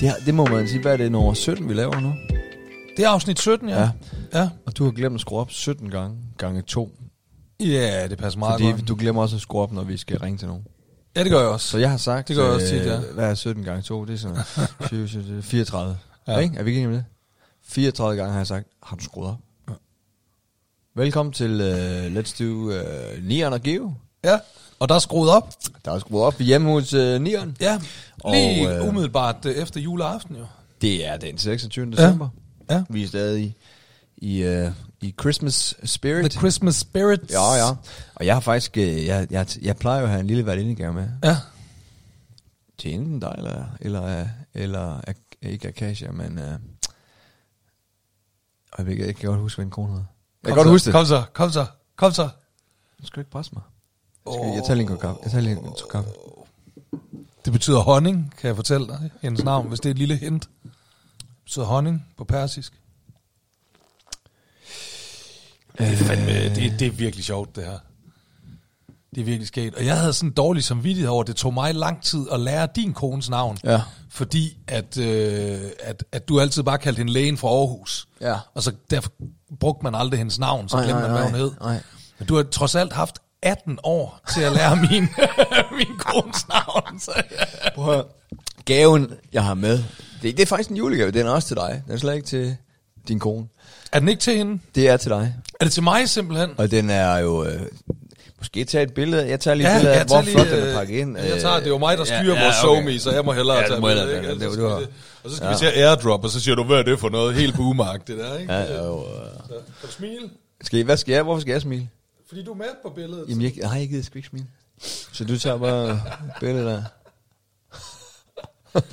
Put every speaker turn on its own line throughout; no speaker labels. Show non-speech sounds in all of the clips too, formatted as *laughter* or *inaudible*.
Det, er- det må man sige. Hvad er det, nummer 17, vi laver nu?
Det er afsnit 17, ja.
Ja.
Ja, ja.
Og du har glemt at skrue op 17 gange, gange 2.
ja det passer meget
Fordi
Fordi godt.
du glemmer også at skrue op, når vi skal ringe til nogen.
Ja, det gør jeg også.
Så jeg har sagt, øh,
Det gør jeg også tit, ja.
hvad er 17 gange 2? Det er sådan *laughs* noget. 20, 20, 34.
Ja.
Ja. Ikke? Er vi ikke enige om det? 34 gange har jeg sagt, har du skruet op? Ja. Velkommen til uh, Let's Do uh, Nieren og Geo.
Ja, og der er skruet op.
Der er skruet op hjemme hos uh, Nieren.
Ja,
Og,
lige og,
øh,
øh, umiddelbart øh, efter juleaften jo.
Det er den 26. december.
Ja.
Vi er stadig i, uh, i Christmas spirit.
The Christmas Spirit.
Ja, ja. Og jeg har faktisk, øh, jeg, jeg, jeg plejer jo at have en lille værtindegave med.
Ja,
Til enten dig, eller, eller, øh, eller ak- ikke Akasha, men... Øh, øjeblik, jeg kan godt huske, hvad en kone hedder. Jeg kan
Kom
godt
så,
huske det.
Kom så, kom så, kom så.
Nu skal du ikke presse mig. Jeg, skal, jeg tager lige en kop kaffe. Jeg tager lige en kop kaffe.
Det betyder honning, kan jeg fortælle dig. Hendes navn, hvis det er et lille hint. Det betyder honning på persisk. Det er, fandme, det, det er virkelig sjovt, det her. Det er virkelig skægt. Og jeg havde sådan en dårlig samvittighed over, at det tog mig lang tid at lære din kones navn.
Ja.
Fordi at, øh, at, at du altid bare kaldte hende lægen fra Aarhus.
Ja.
Og så derfor brugte man aldrig hendes navn, så
Ej,
glemte
ej,
man, hvad
ej,
hun hed.
ej.
Men du har trods alt haft 18 år til at lære min, *laughs* min kones navn. Så,
Prøv at høre. Gaven, jeg har med, det, det er faktisk en julegave. Den er også til dig. Den er slet ikke til din kone.
er den ikke til hende?
Det er til dig.
Er det til mig simpelthen?
Og den er jo... Øh, måske tage et billede. Jeg tager lige et
Ja,
billede af,
jeg
hvor
tager
flot
lige,
den er
øh,
pakket ind.
jeg tager- det er jo mig, der
Øh,
styrer vores
okay.
SoMe, så jeg må hellere tage
det må jeg
billedet,
da.
ikke?
Det-
Altså,
det
skal
var-
vi- Og så skal ja. vi til at airdrop, og så siger du, hvad er det for noget? Helt boomark, det der, ikke?
Ja,
Ja.
ja, jo, øh.
Så, kan du smile?
Skal I, hvad skal jeg? Hvorfor skal jeg smile?
Fordi du er med på billedet.
Jamen, jeg, nej, jeg gider sgu ikke smile. Så du tager bare billedet der.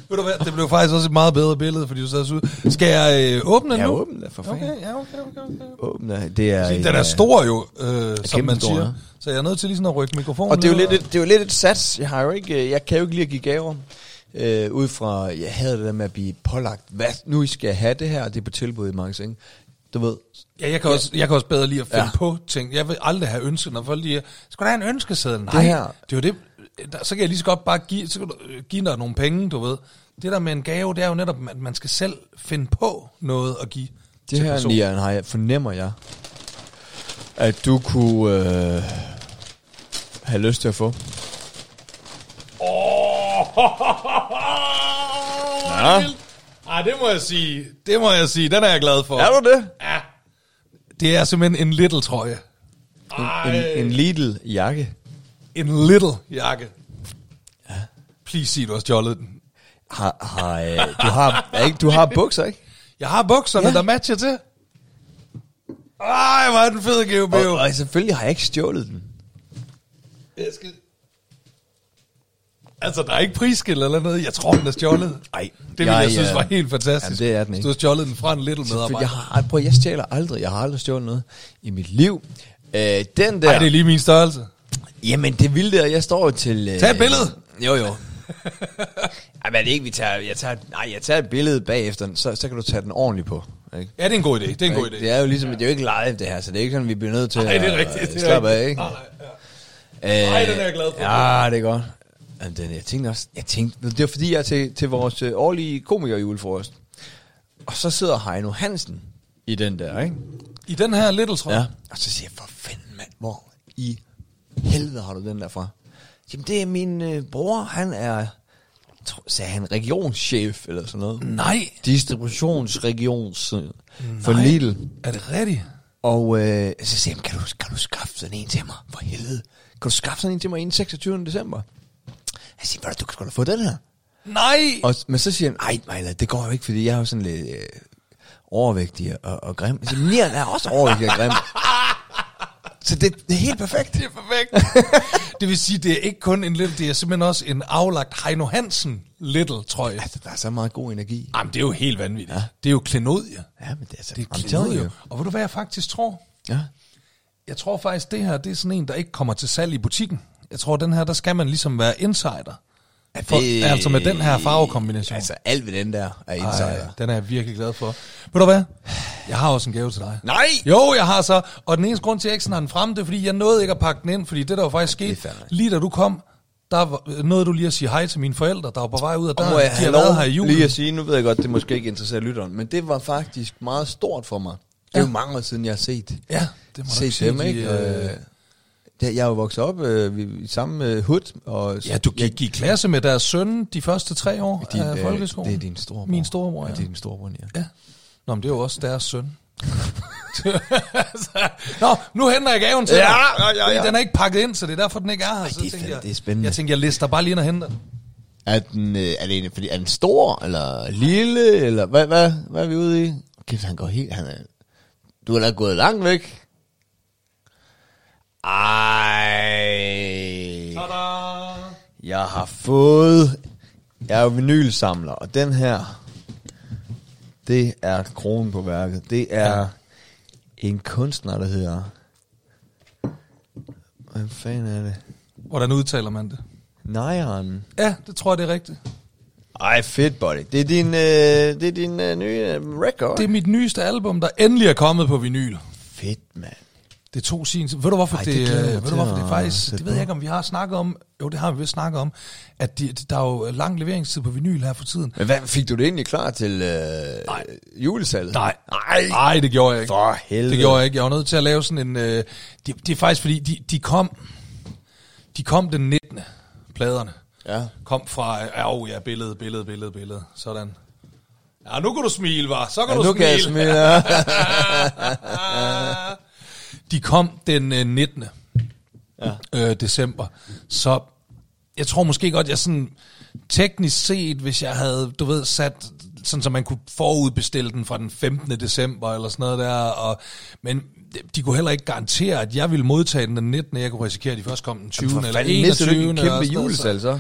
Ved du hvad, det blev faktisk også et meget bedre billede, fordi du sad så ud. Skal jeg øh, åbne den
Jeg er
nu?
åben der, for fanden.
Okay, ja, okay, okay. okay.
Åben der. Det er,
Den er
øh,
stor jo, øh, som man
stor,
siger.
ja.
Så jeg er nødt til lige sådan at rykke mikrofonen
Og det er, jo
ned
lidt, et- det er jo lidt et sats. Jeg, har jo ikke, øh, jeg kan jo ikke lide at give gaver. Øh, ud fra, jeg havde det der med at blive pålagt, hvad nu I skal have det her, og det er på tilbud i magasin. Du ved,
Ja, jeg kan, også, jeg kan også bedre lide at finde
Ja.
ja. på ting. Jeg vil aldrig have ønsket, når folk lige er, skal du have en ønskeseddel? Nej,
her-
det er jo det. Der, så kan jeg lige så godt bare give, så kan du, øh, give dig nogle penge, du ved. Det der med en gave, det er jo netop, at man skal selv finde på noget at give
det
til
her,
personen.
Nian, har jeg, fornemmer jeg, at du kunne øh, have lyst til at få.
Ja. Ej, det må jeg sige. Det må jeg sige. Den er jeg glad for.
Er du det?
Det er simpelthen en little trøje.
En, en Lidl-jakke.
En little jakke. Ja. Please sig, du har stjålet den.
Har, har, øh, du, har, er ikke, du har bukser, ikke?
Jeg har bukserne,
Ja.
ja. der matcher til. Ej, hvor er den fed, GVB.
Og, og selvfølgelig har jeg ikke stjålet den.
Jeg skal... Altså, der er ikke prisskilt eller noget. Jeg tror, den er stjålet.
Ej,
Det ville jeg, jeg synes var helt fantastisk.
øh, Jamen, det er den ikke.
Du har stjålet den fra en little
For
medarbejder.
jeg, har, ald- prøv, at- jeg stjæler aldrig. Jeg har aldrig stjålet noget i mit liv. Øh, den der...
Nej, det er lige min størrelse.
Jamen, det vilde er, jeg står jo til... Øh,
Tag et billede!
Jo, jo. Ej, men er det ikke, vi tager... Jeg tager nej, jeg tager et billede bagefter, så, så kan du tage den ordentligt på. Ikke?
Ja, det er en god idé. Det er en god idé.
Det er jo ligesom, det er jo ikke live det her, så det er ikke sådan, vi bliver nødt til
Nej, det er
at-
rigtigt.
at
Det er
slappe af,
rigtigt.
ikke?
Nej, nej, ja.
Øh,
Ej, den er jeg glad for.
Ja, det er godt. Jamen, den, jeg tænkte også, jeg tænkte, det var fordi, jeg er til, til vores øh, årlige komiker julefrokost. Og så sidder Heino Hansen i den der, ikke?
I den her little, tror jeg.
Og så siger jeg, for fanden mand, hvor i helvede har du den der fra? Jamen, det er min øh, bror, han er, tro, sagde han, regionschef eller sådan noget.
Nej. Mm.
Distributionsregions øh, for Lidl.
Er det rigtigt?
Og øh, så siger jeg, kan du, kan du skaffe sådan en til mig? For helvede. Kan du skaffe sådan en til mig inden 26. december? Jeg siger, hvad du kan sgu da få den her.
Nej!
Og, men så siger han, nej, Maja, det går jo ikke, fordi jeg er jo sådan lidt øh, overvægtig og, og grim. Jeg siger, Nian er også overvægtig og grim. Så det, det er helt perfekt.
Det er perfekt. *laughs* det vil sige, det er ikke kun en little, det er simpelthen også en aflagt Heino Hansen little, tror jeg.
Altså, der er så meget god energi.
Jamen, det er jo helt vanvittigt. Ja. Det er jo klenodie.
Ja, men det er så
Det er
I'm telling
klenodie.
you.
Og ved du, hvad jeg faktisk tror?
Ja.
Jeg tror faktisk, det her det er sådan en, der ikke kommer til salg i butikken. Jeg tror, den her, der skal man ligesom være insider. For, det... Altså med den her farvekombination.
Altså, alt ved den der er insider.
Ej, den er jeg virkelig glad for. Ved du hvad? Jeg har også en gave til dig.
Nej!
Jo, jeg har så. Og den eneste grund til, at jeg ikke sådan har den frem, det er, fordi jeg nåede ikke at pakke den ind. Fordi det, der jo faktisk
det er
skete,
fair nok.
lige da du kom, Der var, nåede du lige at sige hej til mine forældre, der var på vej ud af
Og
døren.
må jeg
de
have
har
lov
været her i julen.
lige at sige, nu ved jeg godt, det måske ikke interesserer lytteren, men det var faktisk meget stort for mig. Det er jo
Ja.
mange år siden, jeg har set,
Ja, det må du
set
sige,
dem,
de,
ikke?
øh,
Øh, det- jeg er jo vokset op øh, vi- i samme øh, hood. Og,
Ja, du gik i klasse med deres søn de første tre år
Din,
din, af
øh,
folkeskolen.
det er din storebror.
Min storebror, ja.
Ja, det er din storebror, ja.
ja. Nå, men det er jo også deres søn. *laughs* Nå, nu henter jeg gaven til
Ja,
dig.
ja, ja, ja.
Fordi Den er ikke pakket ind, så det er derfor, den ikke er her. Så
det er
tænkte
fandme-
jeg,
det er spændende.
Jeg tænkte, jeg lister bare lige ind og henter den.
Er den, øh, er, det en, fordi, er den stor, eller lille, eller hvad, hvad, hvad er vi ude i? Kæft, han går helt, han er, du er da gået langt væk. Ej,
Tada!
jeg har fået, jeg er jo vinylsamler, og den her, det er kronen på værket. Det er ja. en kunstner, der hedder, hvad fanden er det?
Hvordan udtaler man det?
Nejeren.
Ja, det tror jeg, det er rigtigt.
Ej, fedt, buddy. Det er din, øh, det er din øh, nye øh, record.
Det er mit nyeste album, der endelig er kommet på vinyl.
fedt, mand.
Det tog sin tid. Ved du, hvorfor
Ej,
Ej,
det
det, det,
glæder jeg mig
ved
til
du, hvorfor
at
det faktisk...
sætte
Det ved
på.
jeg ikke, om vi har snakket om... Jo, det har vi vist snakket om, at de, der er jo lang leveringstid på vinyl her for tiden.
Men hvad, fik du det egentlig klar til øh,
Nej.
julesalget?
Nej.
Nej.
Nej, det gjorde jeg ikke.
For helvede.
Det gjorde jeg ikke. Jeg var nødt til at lave sådan en... Øh, det, det er faktisk, fordi de, de kom... De kom den 19. Pladerne.
Ja.
Kom fra... Øh, au, ja, billede, billede, billede, billede. Sådan. Ja, nu kan du smile, var. Så kan
Ja,
du
nu
smile.
kan jeg smide. ja.
De kom den øh, 19. Ja. Øh, december. Så jeg tror måske godt, jeg sådan teknisk set, hvis jeg havde, du ved, sat sådan, så man kunne forudbestille den fra den 15. december eller sådan noget der, og, men de kunne heller ikke garantere, at jeg ville modtage den den 19. Jeg kunne risikere, at de først kom den 20. eller
Fanden,
21.
mistede du ikke en
eller
kæmpe
sådan noget, så-
julesalg, så?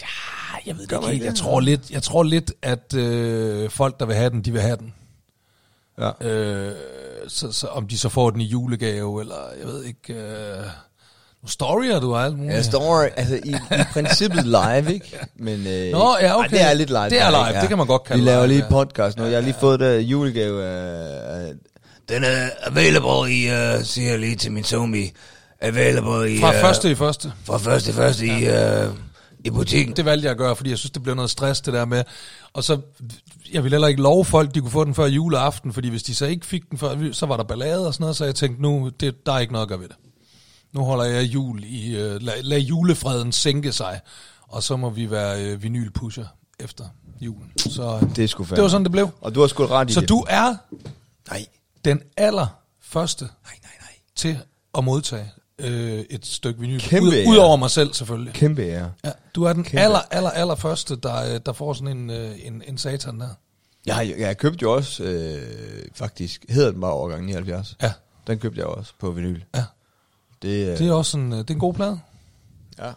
Ja, jeg ved det ikke helt. Jeg tror lidt, jeg tror lidt at øh, folk, der vil have den, de vil have den.
Ja.
Øh, så, så, om de så får den i julegave, eller jeg ved ikke... Øh, nu storyer du og alt muligt.
Jeg står altså, i, i princippet live, ikke? Men, øh,
Nå, ja, okay.
det er lidt live.
Det er
der,
live,
ikke?
det kan man godt kalde
Vi laver
live,
lige
ja.
podcast nu. Jeg har lige fået det julegave. Øh, øh, den er available i, øh, siger jeg lige til min zombie. Available i...
Fra
øh,
første i første.
Fra første første i, øh, i butikken.
Det valgte jeg at gøre, fordi jeg synes, det blev noget stress, det der med. Og så, jeg ville heller ikke love folk, de kunne få den før juleaften, fordi hvis de så ikke fik den før, så var der ballade og sådan noget, så jeg tænkte, nu, det, der er ikke noget at gøre ved det. Nu holder jeg jul i, øh, lad, lad julefreden sænke sig, og så må vi være øh, vinylpusher efter julen. Så øh,
Det er sgu fair.
det var sådan, det blev.
Og du har sgu ret i
Så
det.
du er
Nej,
den allerførste
nej, nej, nej.
til at modtage øh, et stykke vinyl.
Kæmpe ære.
Ud, udover mig selv, selvfølgelig.
Kæmpe ære.
Ja, du er den
Kæmpe.
aller, aller, aller første, der, øh, der får sådan en, øh, en, en satan der.
Jeg, har, jeg købte jo også, øh, faktisk, hedder den bare overgang 79.
Ja.
Den købte jeg også på vinyl.
Ja.
Det, øh,
Det er også en, øh, det er en god
*laughs*
plade.
Ja.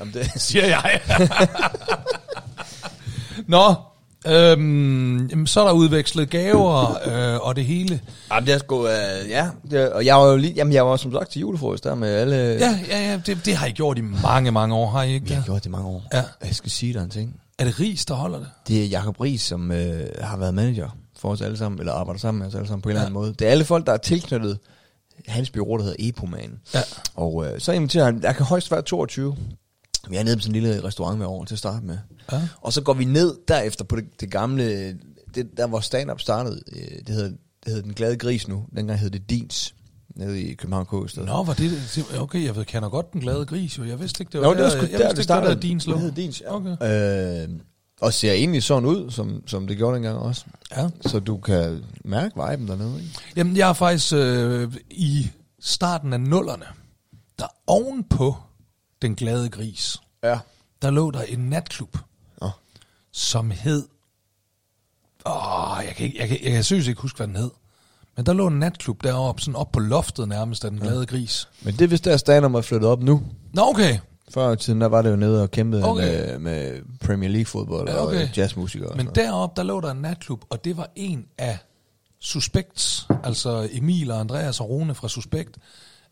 Jamen det,
*laughs* Siger jeg. Nå, øhm, jamen, så er der udvekslet gaver øh, og det hele.
jamen det er sgu, øh, ja. Det, og jeg var jo lige, jamen jeg var som sagt til julefrokost der med alle...
Ja, ja, ja det, det har I gjort i mange, mange år, har I ikke
Jeg har
det?
gjort det i mange år.
Ja.
Og Jeg skal sige dig en ting.
Er det ris, der holder det?
Det er Jacob Ries, som øh, har været manager for os alle sammen, eller arbejder sammen med os alle sammen på en eller anden måde. Det er alle folk, der er tilknyttet hans bureau, der hedder Epoman.
Ja.
Og øh, så inviterer han, der kan højst være 22. Vi er nede på sådan en lille restaurant med over til at starte med.
Ja.
Og så går vi ned derefter på det, det gamle, det, der hvor stand-up startede. øh, Det hedder, det hedder Den Glade Gris nu. Dengang hed det Dins, nede i København K.
Nå, var det det? Okay, jeg ved, kender godt den glade gris, jo. Jeg vidste ikke, det var,
Jo, det var sgu
jeg
der,
vidste
det
ikke,
startede.
det var din slå.
Det hed Dins, ja.
Okay.
Øh, og ser egentlig sådan ud, som, som det gjorde dengang også.
Ja.
Så du kan mærke viben dernede, ikke?
Jamen, jeg er faktisk øh, i starten af nullerne, der ovenpå den glade gris,
Ja.
der lå der en natklub,
Nå.
som hed... Åh, jeg kan, ikke, jeg, kan, jeg kan seriøst ikke huske, hvad den hed. Men der lå en natklub deroppe, sådan op på loftet nærmest af den glade gris.
Men det er vist der stand-up er flyttet op nu.
Nå, okay.
Før i tiden, der var det jo nede og kæmpede
Okay.
med, med Premier League-fodbold
Ja,
ja, okay.
okay.
og øh, jazzmusikere.
Men deroppe, der lå der en natklub, og det var en af Suspekt, altså Emil og Andreas og Rune fra Suspekt,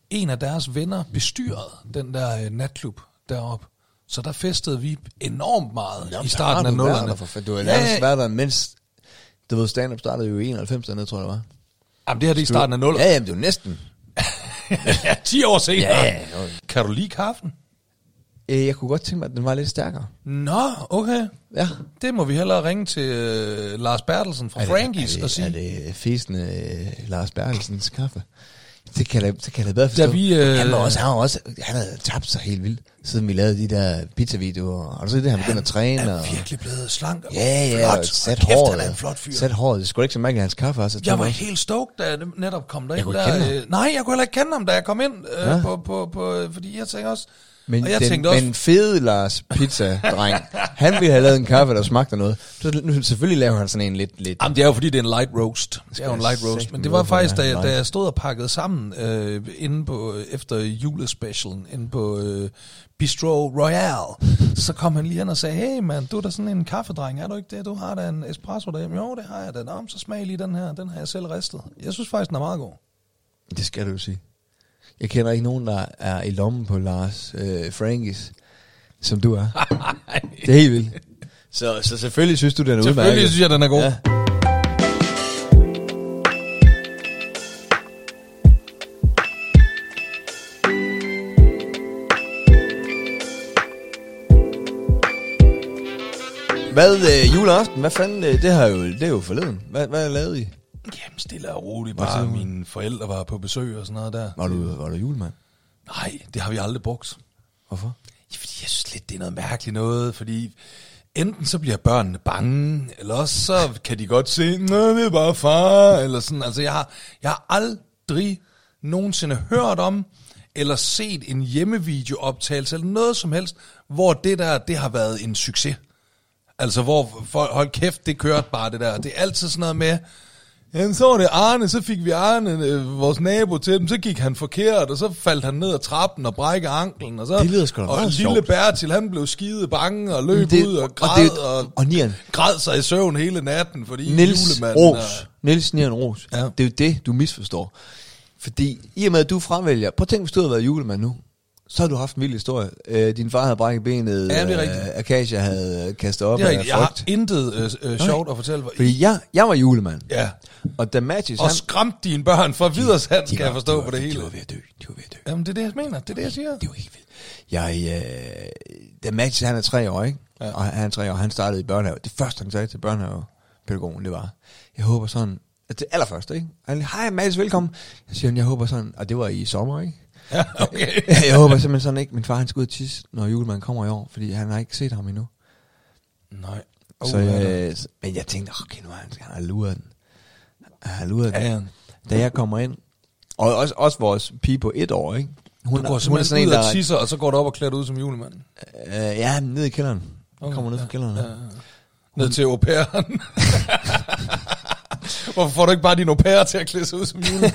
en af deres venner bestyrede den der øh, natklub deroppe. Så der festede vi enormt meget Jamen, i starten af nullerne.
For, du har nærmest været der, mens... Du ved, stand-up startede jo i 91 dernede, tror jeg, det var.
Jamen, det her det er i starten af nullerne.
Ja, jamen, det var næsten.
*laughs* Ja, 10 år senere.
Ja,
Kan du lide kaffen?
Øh, jeg kunne godt tænke mig, at den var lidt stærkere.
Nå, okay.
Ja.
Det må vi hellere ringe til øh, Lars Bertelsen fra
Er det-
Frankies
er det,
og sige.
Er det fæsende øh, Lars Bergelsens kaffe? Det kan jeg, det kan jeg da bedre forstå.
Da vi, øh,
han, var også, han, var også, han havde tabt sig helt vildt, siden vi lavede de der pizzavideoer. Har du set det, han begyndte at træne?
Han
og,
er virkelig blevet slank og
ja, ja,
flot.
og sat
og kæft,
håret.
han er en flot fyr.
Sat håret. Det skulle ikke så mærke, at hans kaffe også.
Jeg var helt stoked, da jeg netop kom derind.
Jeg kunne
der,
ikke kende ham.
øh, Nej, jeg kunne heller ikke kende ham, da jeg kom ind. Øh,
Ja.
ja. på, på, på, fordi jeg tænkte også...
Men
og jeg
den,
tænkte også...
men fede Lars Pizza-dreng, han ville have lavet en kaffe, der smagte af noget. Så nu selvfølgelig laver han sådan en lidt... lidt
Jamen, det er jo fordi, det er en light roast. Det er jo en light
jeg
roast.
sætte
Men
mig
det var
ud for,
faktisk,
at det
da,
er
jeg-
en
da
light.
jeg stod og pakkede sammen øh, inde på, øh, efter julespecialen inde på øh, Bistro Royal,
*laughs*
så kom han lige hen og sagde, hey mand, du er da sådan en kaffedreng, er du ikke det? Du har da en espresso derhjemme. Jo, det har jeg da. Nå, men så smag lige den her. Den har jeg selv ristet. Jeg synes faktisk, den er meget god.
Det skal du jo sige. Jeg kender ikke nogen, der er i lommen på Lars øh, Frankis, som du er.
*laughs*
det er helt vildt. Så, så selvfølgelig synes du, den er udmærket.
Selvfølgelig synes jeg, den er god.
Ja.
Ja.
Hvad, øh, juleaften, hvad fanden, øh, det, har jo, det er jo forleden. Hvad, hvad lavede I?
Jamen, stille og roligt.
Hvad
Bare
siger du?
mine forældre var på besøg og sådan noget der.
Var du, var du julemand?
Nej, det har vi aldrig brugt.
Hvorfor?
Ja, Fordi jeg synes lidt, det er noget mærkeligt noget, fordi enten så bliver børnene bange, eller også så kan de godt se, nej, det er bare far, eller sådan. Altså, jeg har, jeg har aldrig nogensinde hørt om, eller set en hjemmevideooptagelse, eller noget som helst, hvor det der, det har været en succes. Altså, hvor folk, hold kæft, det kørte bare det der. Det er altid sådan noget med, Jamen, så var det Arne, så fik vi Arne, øh, vores nabo, til dem, så gik han forkert, og så faldt han ned ad trappen og brækkede anklen, og så...
Det lyder sgu da
Og
meget
lille
sjovt.
Bertil, han blev skide bange og løb
Det-
det, ud
og
og græd,
det-
og, og,
og nieren.
græd sig i søvn hele natten, fordi
Nils
julemanden... er-
Ros. Nils Nieren Ros. Ja.
Ja.
Det er jo det, du misforstår. Fordi i og med, at du fravælger... Prøv at tænke, hvis du havde været julemand nu. Så har du haft en vild historie. Øh, din far havde brækket benet.
Ja, det er rigtigt.
Øh, Akasia havde øh, kastet op
Det er
af
rigtigt. Jeg har
frygt.
intet øh, øh, sjovt at fortælle. Hvor,
Fordi jeg, jeg var julemand.
ja.
Og da Mattis...
Og skræmt dine børn fra Vidersand, skal
var-
jeg
de
forstå
var-
på det hele.
De var ved at dø. De var ved at dø.
Jamen, det er det, jeg mener. Det er det, jeg siger.
Det var helt vildt. Jeg, øh, da Mattis, han er tre år, ikke? Ja.
Ja.
Og han er tre år, han startede i børnehave. Det første, han sagde til børnehavepædagogen, det var, jeg håber sådan, at det allerførste, ikke? Han, hej Mattis, velkommen. Jeg siger, jeg håber sådan, og det var i sommer, ikke? *laughs*
Ja, okay.
jeg håber simpelthen sådan ikke, min far han skal ud og tisse, når julemanden kommer i år, fordi han har ikke set ham endnu.
Nej.
Oh, så, øh, så- men jeg tænkte, okay, nu har han, han har luret den. Han har luret den.
Ja, ja.
Da jeg kommer ind, og også, også vores pige på et år, ikke? Hun,
Du går simpelthen ud og tisser, og så går du op og klæder dig ud som julemand.
Øh, ja, ned i kælderen. Okay,
Okay,
Kommer ned fra kælderen. Ja,
Ja, ja. Øh, Ned til au
*laughs*
pairen. Hvorfor får du ikke bare din au pair til at klæde sig ud som
*laughs*
julemand?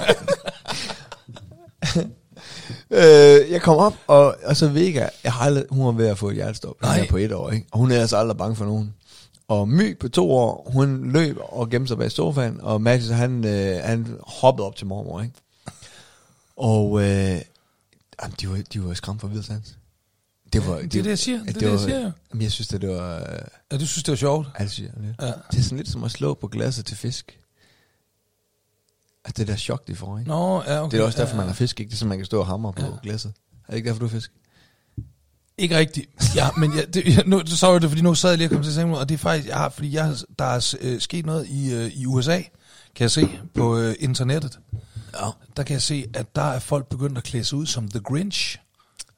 Øh, jeg kom op, og, og så Vega, jeg har aldrig, hun var ved at få et hjertestop. Hun
Nej.
er på et år, ikke? Og hun er altså aldrig bange for nogen. Og My på to år, hun løb og gemte sig bag sofaen, og Mathis, han, øh, han hoppede op til mormor, ikke? Og øh, jamen, de, var, de var skræmt for vidsands. Det var,
det er det, jeg siger.
at
Det er det, jeg siger.
Jamen, jeg synes, at det var... Øh,
ja, du synes, det var sjovt.
altså, det. Ja.
Ja.
det er sådan lidt som at slå på glasset til fisk. Altså, det der chok, de får, ikke?
Nå, ja, okay.
Det er da også derfor,
ja,
man
ja.
har fisk, ikke? Det er så, man kan stå og hamre på ja.
Ja.
glasset. Er det ikke derfor, du har fisk?
Ikke rigtigt. Ja, men jeg, det, jeg, nu, så var det, fordi nu sad jeg lige og kom til at tænke mig, og det er faktisk, jeg har, fordi jeg, har- der er øh, sket noget i, øh, i USA, kan jeg se på øh, internettet.
Ja.
Der kan jeg se, at der er folk begyndt at klæde sig ud som The Grinch.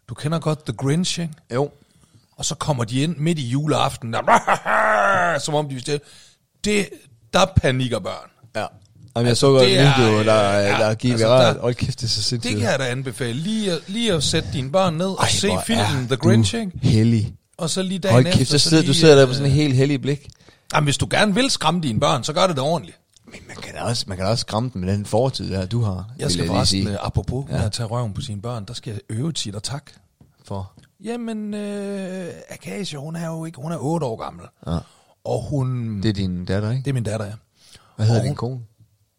Du kender godt The Grinch, ikke?
Jo.
Og så kommer de ind midt i juleaften, der, *laughs* som om de vil Det, der panikker børn.
Ja. Jamen, jeg så godt en
Altså, det er,
video, der,
øh,
ja,
ja,
der gik
altså,
altså, viralt.
der-
Hold kæft, det er så
Det
sindssygt.
kan jeg da anbefale. Lige at, lige at sætte dine børn ned og Ej, se
hvor
filmen
er
The Grinch, ikke?
Du hellig.
Og så lige dagen
Hold kæft,
efter...
så sidder, du sidder der med sådan en helt hellig blik.
øh, Jamen, hvis du gerne vil skræmme dine børn, så gør det da ordentligt.
Men man kan da også, man kan da også skræmme dem med den fortid, der du har.
Jeg
vil
skal
lige
forresten,
sige.
øh, apropos
Ja.
ja. med at tage røven på sine børn, der skal jeg øve tit og tak.
For.
Jamen, øh, Akasia, hun er jo ikke... Hun er 8 år gammel.
Ja.
Og hun...
Det
Det,
er din datter, ikke?
det er min datter, ja.
Hvad hedder
Og
din
hun-
kone?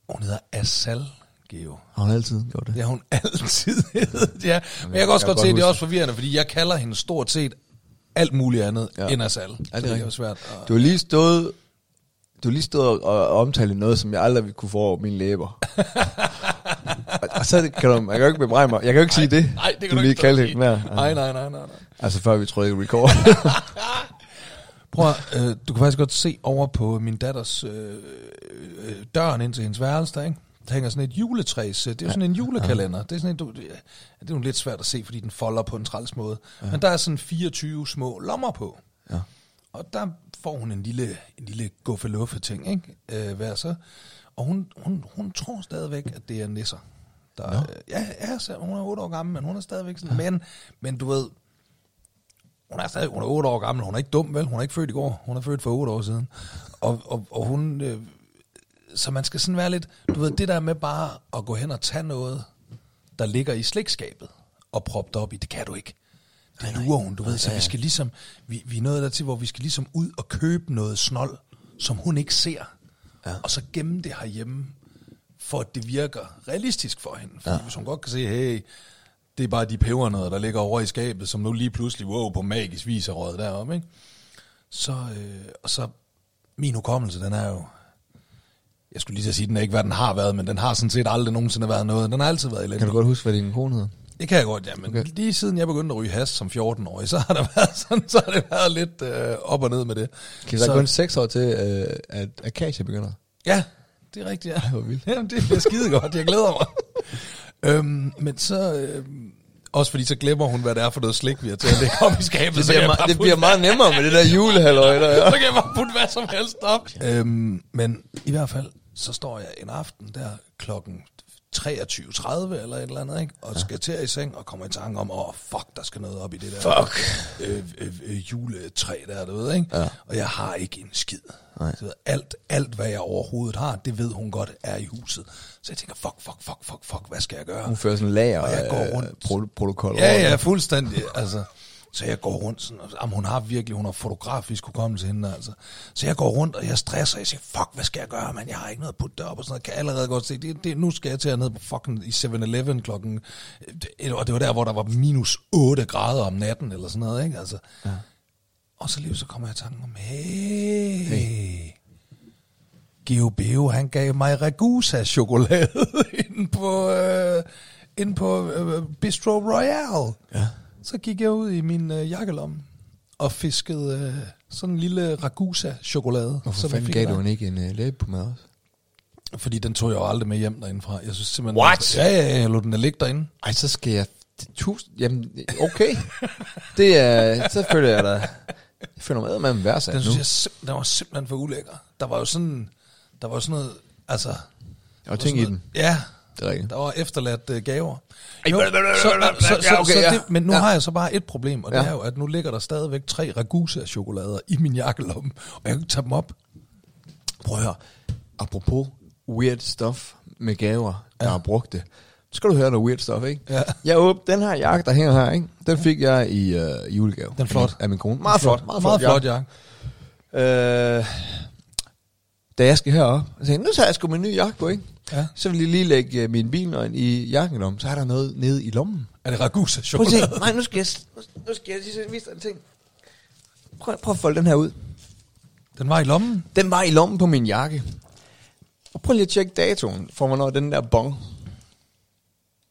Hun hedder Asal Geo.
Har hun altid gjort det?
Det har hun *laughs* altid heddet, ja. Men jeg kan
jeg kan
også godt se,
godt
at det er
huske
også forvirrende, fordi jeg kalder hende stort set alt muligt andet
Ja.
ja. end Asal. Ja, det er, det er jo
rigtigt.
svært. At...
Du har lige stået... Du har lige stået og, og omtalt noget, som jeg aldrig ville kunne få over mine læber. og, og, så kan du, jeg kan jo ikke bebrejde mig. Jeg kan jo ikke sige det.
Nej, det kan
du
du
lige
ikke stå og
kaldte
sige.
hende der.
Nej, nej, nej, nej, nej.
Altså før vi trykkede
*laughs*
record.
Prøv at, øh, du kan faktisk godt se over på min datters øh, øh, døren ind til hendes værelse, der, ikke? Der hænger sådan et juletræ. så Det er jo sådan en julekalender. Det er sådan en, du, det er- det er jo lidt svært at se, fordi den folder på en træls måde. Ja. Men der er sådan 24 små lommer på.
Ja.
Og der får hun en lille, en lille guffeluffe ting, ikke? Øh, hvad så? Og hun, hun, hun tror stadigvæk, at det er nisser. Der, no. øh, ja, ja, så hun er 8 år gammel, men hun er stadigvæk sådan. Men, men du ved, hun er stadig, hun er 8 år gammel, hun er ikke dum, vel? Hun er ikke født i går, hun er født for 8 år siden. Og, og, og hun, øh, så man skal sådan være lidt, du ved, det der med bare at gå hen og tage noget, der ligger i slikskabet og proppet op i, det kan du ikke. Det lurer hun, du ved, så vi skal ligesom, vi, vi er nået dertil, hvor vi skal ligesom ud og købe noget snold, som hun ikke ser, ja. og så gemme det herhjemme, for at det virker realistisk for hende. Fordi ja. hvis hun godt kan se, hey, det er bare de pebernødder, der ligger over i skabet, som nu lige pludselig, wow, på magisk vis er røget deroppe, ikke? Så, øh, og så, min hukommelse, den er jo, jeg skulle lige til at sige, den er ikke, hvad den har været, men den har sådan set aldrig nogensinde været noget. Den har altid været elendig.
kan du godt huske, hvad din kone hedder?
Det kan jeg godt, ja. Men okay. lige siden jeg begyndte at ryge has som 14-årig, så har, der *laughs* været sådan, så har det været lidt øh, op og ned med det.
Kan vi så kun 6 år til, øh, at Akacia begynder?
Ja, det er rigtigt, ja.
hvor
*laughs*
vildt.
Jamen, det bliver skide godt, jeg glæder
*laughs*
mig. øhm, men så... øhm, også fordi så glemmer hun, hvad det er for noget slik, vi har til at lægge op i skabet.
Det
så kan
bliver,
jeg
me-
bare
det
putte-
bliver meget nemmere med det der julehalløj der.
så
Ja.
kan jeg bare putte hvad som helst op. Øhm, men i hvert fald, så står jeg en aften der klokken 23.30 eller et eller andet, ikke? og skal til at i seng og kommer i tanke om, åh, oh, fuck, der skal noget op i det der
Fuck.
Øh, øh, øh, juletræ der, du ved, ikke? Ja. Og jeg har ikke en skid. Nej. Så alt, alt, hvad jeg overhovedet har, det ved hun godt er i huset. Så jeg tænker, fuck, fuck, fuck, fuck, fuck, hvad skal jeg gøre?
Hun fører sådan en lager
Og jeg går
øh,
rundt.
pro- protokol. over.
Ja, ja, fuldstændig. altså, så jeg går rundt sådan, og, jamen, hun har virkelig, hun har fotografisk hukommelse hende, altså. Så jeg går rundt, og jeg stresser, jeg siger, fuck, hvad skal jeg gøre, man? Jeg har ikke noget at putte derop og sådan noget. Kan jeg allerede godt se, det, det, nu skal jeg til at ned på fucking i 7-Eleven klokken, et- og det var der, hvor der var minus 8 grader om natten, eller sådan noget, ikke? Altså, ja. Og så lige så kommer jeg i tanken om, hey, hey. Geo Beo, han gav mig Ragusa-chokolade *laughs* inde på, øh, inde på øh, Bistro Royal. Ja. Så gik jeg ud i min øh, jakkelomme og fiskede øh, sådan en lille Ragusa-chokolade.
Hvorfor
som
fanden
fik
gav
der.
du hende ikke en uh, læbepomade også?
Fordi den tog jeg jo aldrig med hjem derindefra. Jeg synes simpelthen...
What?
Ja, ja, ja, jeg lod den da ligge derinde.
Ej, så skal jeg... det- Tusind... Jamen, okay. det er... Så føler jeg da... Jeg føler mig med en værtsat
Den,
nu.
synes jeg, sim- den var simpelthen for ulækker. Der var jo sådan, der var jo sådan noget... Altså,
Jeg har ting i den.
Ja,
Det er rigtigt.
Der var efterladt uh, gaver.
Ej,
Jo,
blablabla, blablabla,
så- så-
ja,
så-
okay,
så
ja.
det- Men nu
Ja.
har jeg så bare et problem, og det
Ja.
er jo, at nu ligger der stadigvæk tre Ragusa-chokolader i min jakkelomme, og jeg kan ikke tage dem op.
Prøv at høre. Apropos weird stuff med gaver, der ja. har brugt det. Så skal du høre noget weird stuff, ikke?
Ja.
Jeg åb- den her jakke, der hænger her, ikke? Den fik jeg i øh, julegave.
Den er flot.
Af min, af min kone. Meget flot. Meget flot,
Meget flot, ja.
Øh, da jeg skal herop, så tænkte jeg, nu tager jeg sgu min nye jakke på, ikke?
Ja.
Så vil jeg lige lægge øh, min bilnøgn i jakken om, så er der noget nede i lommen.
Er det
Prøv at
Ragusa-chokolade?
se, nej, nu skal jeg, s- nu- nu skal jeg lige vise dig en ting. Prøv, prøv at folde den her ud.
Den var i lommen.
Den var i lommen på min jakke. Og prøv lige at tjekke datoen for, hvornår den der bong.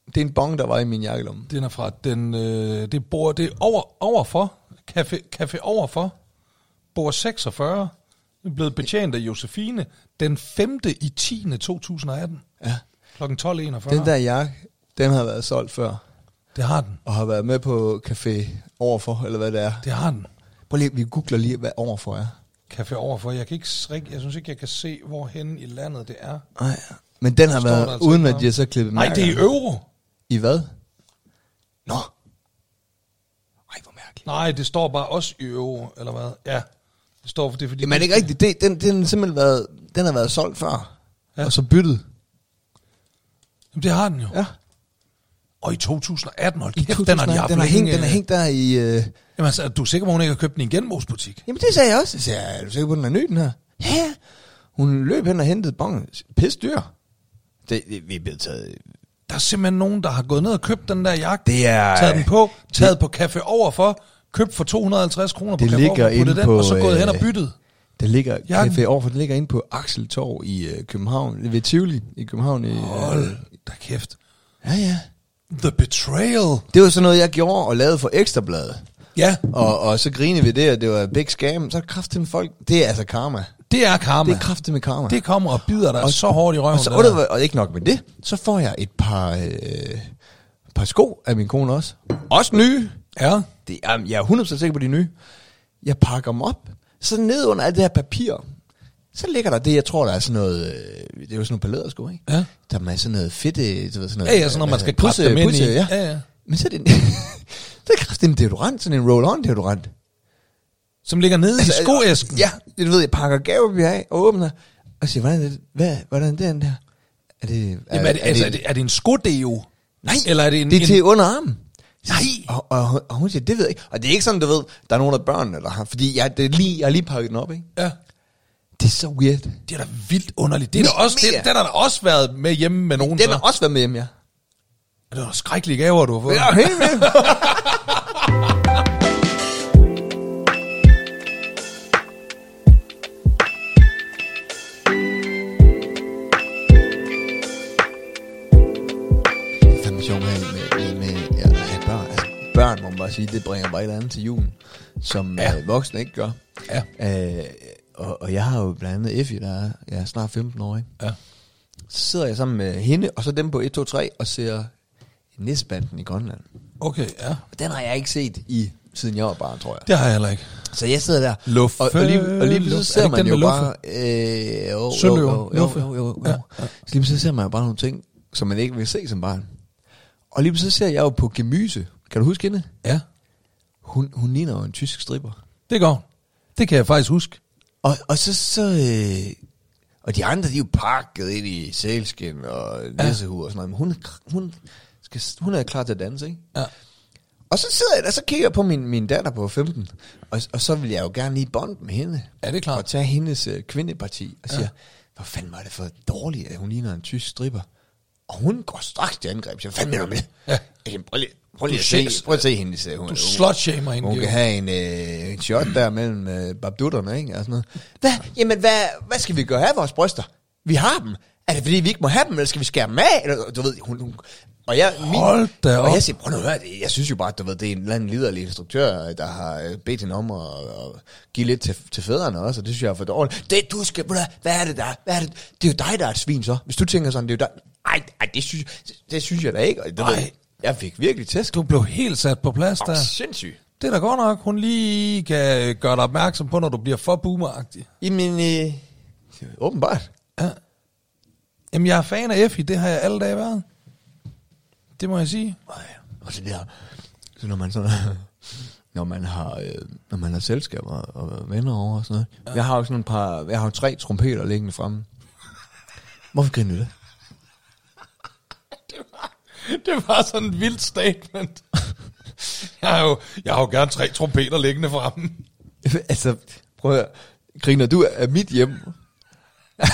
Det er en bong, der var i min jakkelomme.
Den er fra den, øh, det bor, det er over, overfor, café, café overfor, bor 46, den er blevet betjent af Josefine den 5. i 10. 2018.
Ja.
Klokken 12.41.
Den der jakke, den har været solgt før.
Det har den.
Og har været med på café overfor, eller hvad det er.
Det har den.
Prøv lige, vi googler lige, hvad overfor er.
café overfor. Jeg, kan ikke, s- rigtig- jeg synes ikke, jeg kan se, hvor hen i landet det er.
Nej, men den har
Står
været,
der altså
uden
ikke
at
noget
de har så klippet
Nej, det er i
mærker.
euro.
I hvad? Nå. Ej, hvor mærkeligt.
Nej, det står bare også i euro, eller hvad? Ja, det står for det, er fordi...
Jamen er det ikke rigtigt, det, den, den, har simpelthen været, den har været solgt før,
Ja.
ja. og så byttet.
Jamen, det har den jo. Ja.
Ja.
Og i 2018, hold
I
kæft, den har de haft
den har hængt,
længe.
den har hængt der i... Øh...
Jamen altså, du er sikker på, hun ikke har købt den i en genbrugsbutik?
Jamen det sagde jeg også. Jeg sagde, er du sikker på, den er ny, den her? Ja, ja. Hun løb hen og hentede bongen. Pisse dyr. Det, det, vi er blevet taget...
Der er simpelthen nogen, der har gået ned og købt den der jakke.
Det er-
Taget den på, taget på café overfor, købt for 250 kroner på
Det
café
ligger
overfor, puttet
inde
den,
på,
og så gået hen og
øh,
byttet.
Det ligger,
Jakken.
café overfor, det ligger inde på Akseltorv i øh, København, ved Tivoli i København. I, øh,
Hold da kæft.
ja, ja.
The Betrayal.
Det var sådan noget, jeg gjorde og lavede for Ekstrabladet.
Ja,
Og, og så griner vi det, og det var et big scam. Så er med folk, det er altså karma.
det er karma.
Det er kraftigt med karma.
det kommer og bider dig og, så hårdt i røven.
Og, så,
det
Altså, og,
der.
det var, og ikke nok med det, så får jeg et par, øh, par sko af min kone også. Også nye.
Ja.
Det, jamen, jeg er 100% sikker på de er nye. Jeg pakker dem op, så ned under alt det her papir, så ligger der det, jeg tror, der er sådan noget, øh, det er jo sådan nogle palædersko, ikke?
Ja.
Der er sådan noget fedt, øh, du ved, sådan noget.
Ja, ja, sådan noget, man
øh,
skal klappe dem ind i.
ja.
Ja, ja.
Men så er det en, *laughs* så er det en deodorant, sådan en roll-on deodorant.
Som ligger nede i skoæsken.
Altså, Ja, du ved, jeg pakker gavepapir af og åbner, og siger, hvordan er det, hvad, hvordan er den der? Er det,
Jamen, er, det, altså, er, det, er det en skodeo?
Nej,
Eller er det en...
det er
en
til underarmen.
Nej.
Og, og, og, og hun siger, det ved jeg ikke. Og det er ikke sådan, du ved, der er nogen af børnene, der har, fordi jeg, det er lige, jeg har lige pakket den op, ikke?
Ja.
Det er så weird.
Det er da vildt underligt. Det er da
Mega.
også, det, den har der også været med hjemme med nogen.
Den
så.
har også været med hjemme, ja.
Det er nogle skrækkelige gaver, du har fået.
Ja, helt vildt. Det er fandme sjovt med, med, med, med at have børn. Altså, børn, må man bare sige, det bringer bare et eller andet til julen, som
Ja.
ja. øh, voksne ikke gør.
Ja.
Øh, og, og jeg har jo blandt andet Effie, der er, jeg er snart 15 år, ikke?
Ja.
Så sidder jeg sammen med hende, og så dem på 1, 2, 3, og ser Nisbanden i Grønland.
Okay, ja.
Og den har jeg ikke set i siden jeg var barn, tror jeg.
Det har jeg heller ikke.
Så jeg sidder der,
Luffe.
og, og, lige, og lige pludselig
Luffe. Øh, Er
ser
det ikke
man
den
jo
med
bare... Øh, jo, jo,
Søløver.
jo, jo,
Luffe.
jo, jo,
Ja,
jo. Så lige pludselig ser man jo bare nogle ting, som man ikke vil se som barn. Og lige pludselig ser jeg jo på Gemyse. Kan du huske hende?
Ja.
Hun, hun ligner jo en tysk stripper.
Det går. Det kan jeg faktisk huske.
Og, og så, så øh, og de andre, de er jo pakket ind i sælskin og nissehue og sådan noget. Men hun, hun, skal, hun er klar til at danse, ikke?
Ja.
Og så sidder jeg der, så kigger jeg på min, min datter på 15, og, og så vil jeg jo gerne lige bonde med hende.
Ja, det er klart.
Og tage hendes øh, kvindeparti og siger, ja. hvor fanden var det for dårligt, at hun ligner en tysk stripper. Og hun går straks til angreb, siger, fanden mener du med?
Ja.
Jeg, prøv lige, prøv lige
Du
at se,
ses-
prøv at se hende, siger hun.
Du
Hun-
slutshamer hende.
hun
Geo.
kan have en, øh, en shot der mellem øh, babdutterne, ikke? Og sådan noget. Hvad? Jamen, hvad, hvad skal vi gøre af vores bryster? Vi har dem. Er det, fordi vi ikke må have dem, eller skal vi skære dem af? Eller, du ved, hun, hun og jeg, min,
Hold da
og
op.
jeg siger, prøv nu at høre, det- jeg synes jo bare, at du ved, det er en eller anden liderlig instruktør, der har øh, bedt hende om at, at give lidt til, til fædrene også, og det synes jeg er for dårligt. Det, du skal, ved du hvad, hvad er det der? Hvad er det? Det er jo dig, der er et svin så. Hvis du tænker sådan, det er jo dig. Ej, ej det, synes, det synes jeg da ikke. Og, du ved,
Ej.
jeg fik virkelig tæsk.
Du blev helt sat på plads der.
Sindssygt.
Det er da godt nok, hun lige kan øh, gøre dig opmærksom på, når du bliver for boomeragtig. *clears throat*
Jamen, øh, åbenbart.
Ja. Jamen, jeg er fan af Effie, det har jeg alle dage været. Det må jeg sige.
Ej, Og så der, så *laughs* når man sådan, når man har, øh, når man har selskaber og venner over og sådan noget. Ja. Jeg har jo sådan et par, jeg har jo tre trompeter liggende fremme. Hvorfor griner du det?
*laughs*
*laughs*
Det var sådan et vildt statement. *laughs* Jeg har jo, jeg har jo gerne tre trompeter liggende fremme.
altså, prøv at høre. griner du af mit hjem?
*laughs* Ej,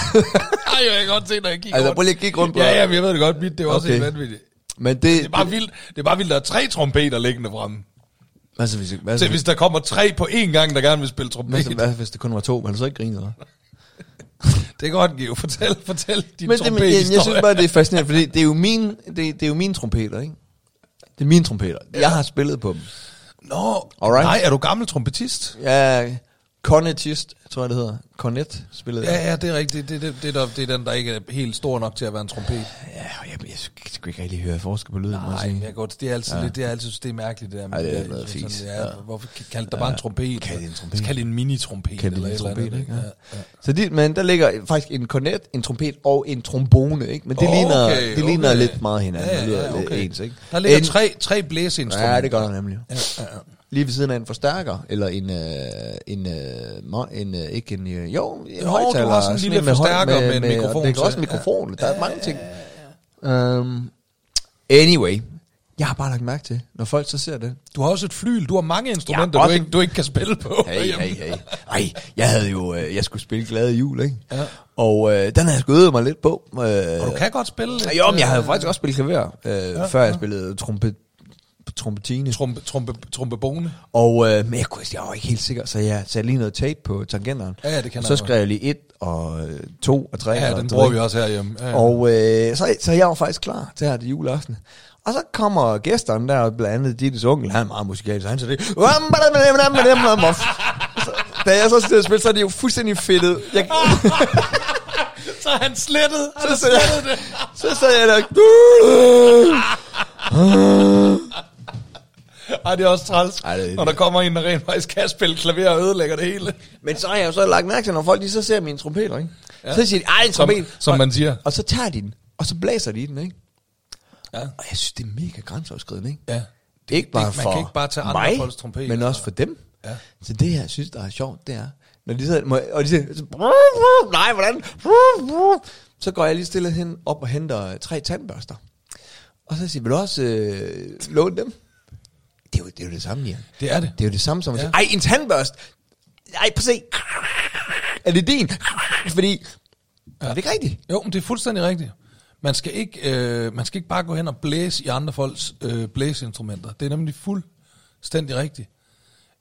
jeg kan godt se, når jeg kigger
Altså,
rundt.
prøv lige at kigge rundt på
Ja,
dig.
ja, men jeg ved det godt. Mit, det er jo også
Okay.
helt vanvittigt.
Men det, det
Det er bare vildt, det er bare vildt, der er tre trompeter liggende fremme.
altså, hvis, hvad,
Så
så, hvis,
hvis der kommer tre på én gang, der gerne vil spille
hvad,
trompet.
så, hvad, hvis det kun var to, man så ikke griner, eller?
Det er godt, Geo. Fortæl, fortæl din
Men det, men, jeg, jeg synes
trompethistorie.
bare, det er fascinerende, fordi det er jo mine, det, det er jo mine trompeter, ikke? Det er mine trompeter. Jeg har spillet på dem.
Nå,
Alright.
nej, er du gammel trompetist?
Ja, cornetist, tror jeg det hedder. Cornet spillede jeg.
Ja, ja, det er rigtigt. Det, det, det, det, det er den, der ikke er helt stor nok til at være en trompet.
Ja, og jeg, jeg skulle ikke rigtig høre forskel på lyden. må jeg
Nej,
sige.
men jeg godt, det er altid, ja. lidt, det er altid det er mærkeligt, det der. med
Ej, det er
der-
noget
sådan,
fis.
Ja,
Ja.
Hvorfor kaldte der bare en trompet?
Kald det en trompet.
Så kald det en mini-trompet.
Kan det
eller
blive
et
en
eller
trompet,
andet,
ikke? Ja. Så de, men der ligger faktisk en kornet, en trompet og en trombone, ikke? Men det
Okay,
ligner, det
okay.
ligner lidt meget hinanden.
Ja,
det lyder
ja,
lidt
okay.
ens, ikke?
Der ligger
en,
tre, tre blæseinstrumenter.
Ja, det gør der nemlig.
Ja, ja, ja.
Lige ved siden af en forstærker, eller en, øh, en, øh, mo- en øh, ikke en, øh, jo, en
du
højtaler.
har sådan en
sådan
lille
en med høj-
forstærker med en
og
mikrofon
Det er
til.
også mikrofon, der er mange ting. Um, anyway, jeg har bare lagt mærke til, når folk så ser det,
Du har også et flyl. Du har mange instrumenter,
Ja,
du,
også-
ikke, du ikke kan spille på.
Hey,
Jamen,
hey, hey. Ej, jeg havde jo, øh, jeg skulle spille Glade Jul, ikke?
Ja.
Og øh, den havde jeg sgu øvet mig lidt på. Øh,
Og du kan godt spille lidt,
jo, men jeg havde
øh,
faktisk også spillet klaver, øh, ja, før ja. jeg spillede trompet, trompetine.
Trompe, trompe, trompebone.
Og øh, men jeg, kunne, jeg var ikke helt sikker, så jeg satte lige noget tape på tangenteren.
Ja, ja, det kender
og
jeg
så
godt.
skrev jeg lige et og øh, to og tre.
Ja,
og
den
du
bruger
ved.
vi også herhjemme. Ja, ja.
Og øh, så, så jeg var faktisk klar til her til juleaften. Og så kommer gæsterne der, og blandt andet Dittes onkel, han er meget musikalsk, han siger det. Så- Da jeg så sidder og spiller, så er det jo fuldstændig fedtet. Jeg,
*laughs* Så er han slettet. Han
så
er
sidder
slettet
jeg,
det.
så sidder jeg der.
*laughs* Ej, det er også træls,
Ej, det er-
når der kommer en, der rent faktisk kan spille klaver og ødelægger det hele.
Men så har jeg jo så lagt mærke til, når folk lige så ser mine trompeter, ikke? Så siger de, ej, en
Som,
trompet.
som
Og-
man siger.
Og så tager de den, og så blæser de i den, ikke?
Ja.
Og jeg synes, det er mega grænseoverskridende, ikke?
Ja.
Det, ikke bare
man
for
kan ikke bare tage andre
mig,
folks trompeter.
men også for dem.
Ja.
Så det, jeg synes, der er sjovt, det er, når de sidder, må jeg- og de siger, så, *laughs* nej, hvordan? *laughs* Så går jeg lige stille hen op og henter øh, tre tandbørster. Og så siger, vil du også øh, låne dem? Det er, jo, det er jo det samme, Jan.
Det er det.
Det er jo det samme som at
Ja.
sige, ej, en tandbørst. Ej, prøv at se. Er det din? *laughs* Fordi, ja. er det ikke rigtigt?
Jo, men det er fuldstændig rigtigt. Man skal ikke, øh, man skal ikke bare gå hen og blæse i andre folks øh, blæseinstrumenter. Det er nemlig fuldstændig rigtigt.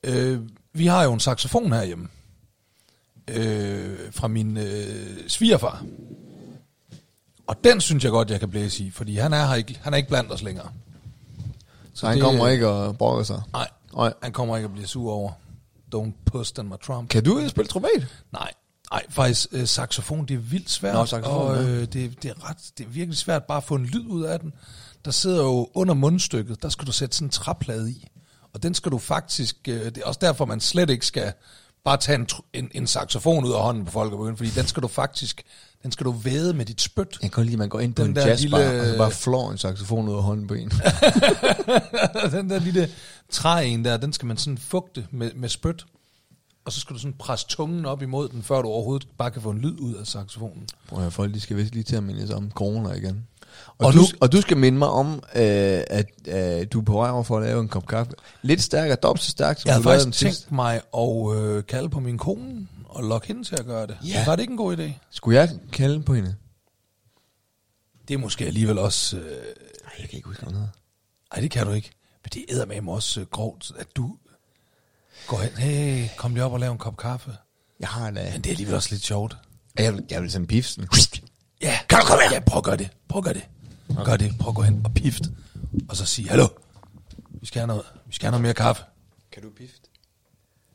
Øh, vi har jo en saxofon herhjemme. Øh, fra min øh, svigerfar. Og den synes jeg godt, jeg kan blæse i, fordi han er, her ikke, han er ikke blandt os længere.
Så
han kommer
ikke og brokker sig.
Nej,
Nej.
han kommer ikke at blive sur over. Don't puss on my trump.
Kan du spille trompet?
Nej, nej, faktisk øh, saxofon, det er vildt svært.
Nå, saxofon,
og,
ja.
øh, det, det, er ret, det er virkelig svært bare at få en lyd ud af den. Der sidder jo under mundstykket, der skal du sætte sådan en træplade i. Og den skal du faktisk, øh, det er også derfor, man slet ikke skal bare tage en, tr- en, en saxofon ud af hånden på folk og begynde, fordi den skal du faktisk, den skal du væde med dit
*laughs*
spyt. *laughs*
Jeg kan godt lide, at man går ind på
Den
en
der
jazzbar,
lille-
og så bare flår en saxofon ud af hånden på *laughs* en.
den der lille træen der, den skal man sådan fugte med, med spyt. Og så skal du sådan presse tungen op imod den, før du overhovedet bare kan få en lyd ud af saxofonen.
Prøv at høre, folk, de skal vist lige til at minde sig om corona igen. Og,
Og
og, du,
nu-
og du skal minde mig om, øh, at øh, du er på vej over for at lave en kop kaffe. Lidt stærkere, dobbelt så stærkt, som
Jeg havde
du lavede den
faktisk
sidste.
tænkt mig at øh, kalde på min kone og lokke hende til at gøre det.
Ja.
Var det ikke en god idé?
Skulle jeg kalde på hende?
Det er måske alligevel også... Øh,
Nej, jeg kan ikke huske noget.
ej, det kan du ikke. Men det er med også øh, grovt, at du går hen. Hey, kom lige op og lav en kop kaffe.
Jeg har en... Øh,
Men det er alligevel også lidt sjovt.
jeg, vil, jeg vil sende pifsen.
Ja, kan du komme her? Ja, prøv at gøre det. Prøv at gøre det. Gør det. Prøv at gå hen og pift. Og så sige, hallo, vi skal have noget, vi skal have noget mere kaffe.
Kan du pifte?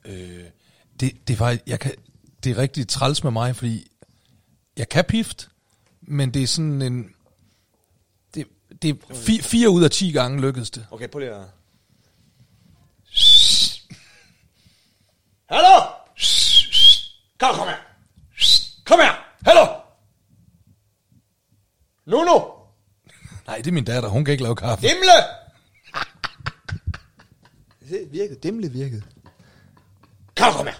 Øh, det, det er faktisk, jeg kan, det er rigtig træls med mig, fordi jeg kan pift, men det er sådan en, det, det er fi, fire ud af ti gange lykkedes det.
Okay, prøv lige at... Hallo! Kom, kom her! Kom her! Hallo! Nu, nu!
Nej, det er min datter, hun kan ikke lave kaffe.
Dimle! Det virkede. Dimle virkede. Kom, kom her!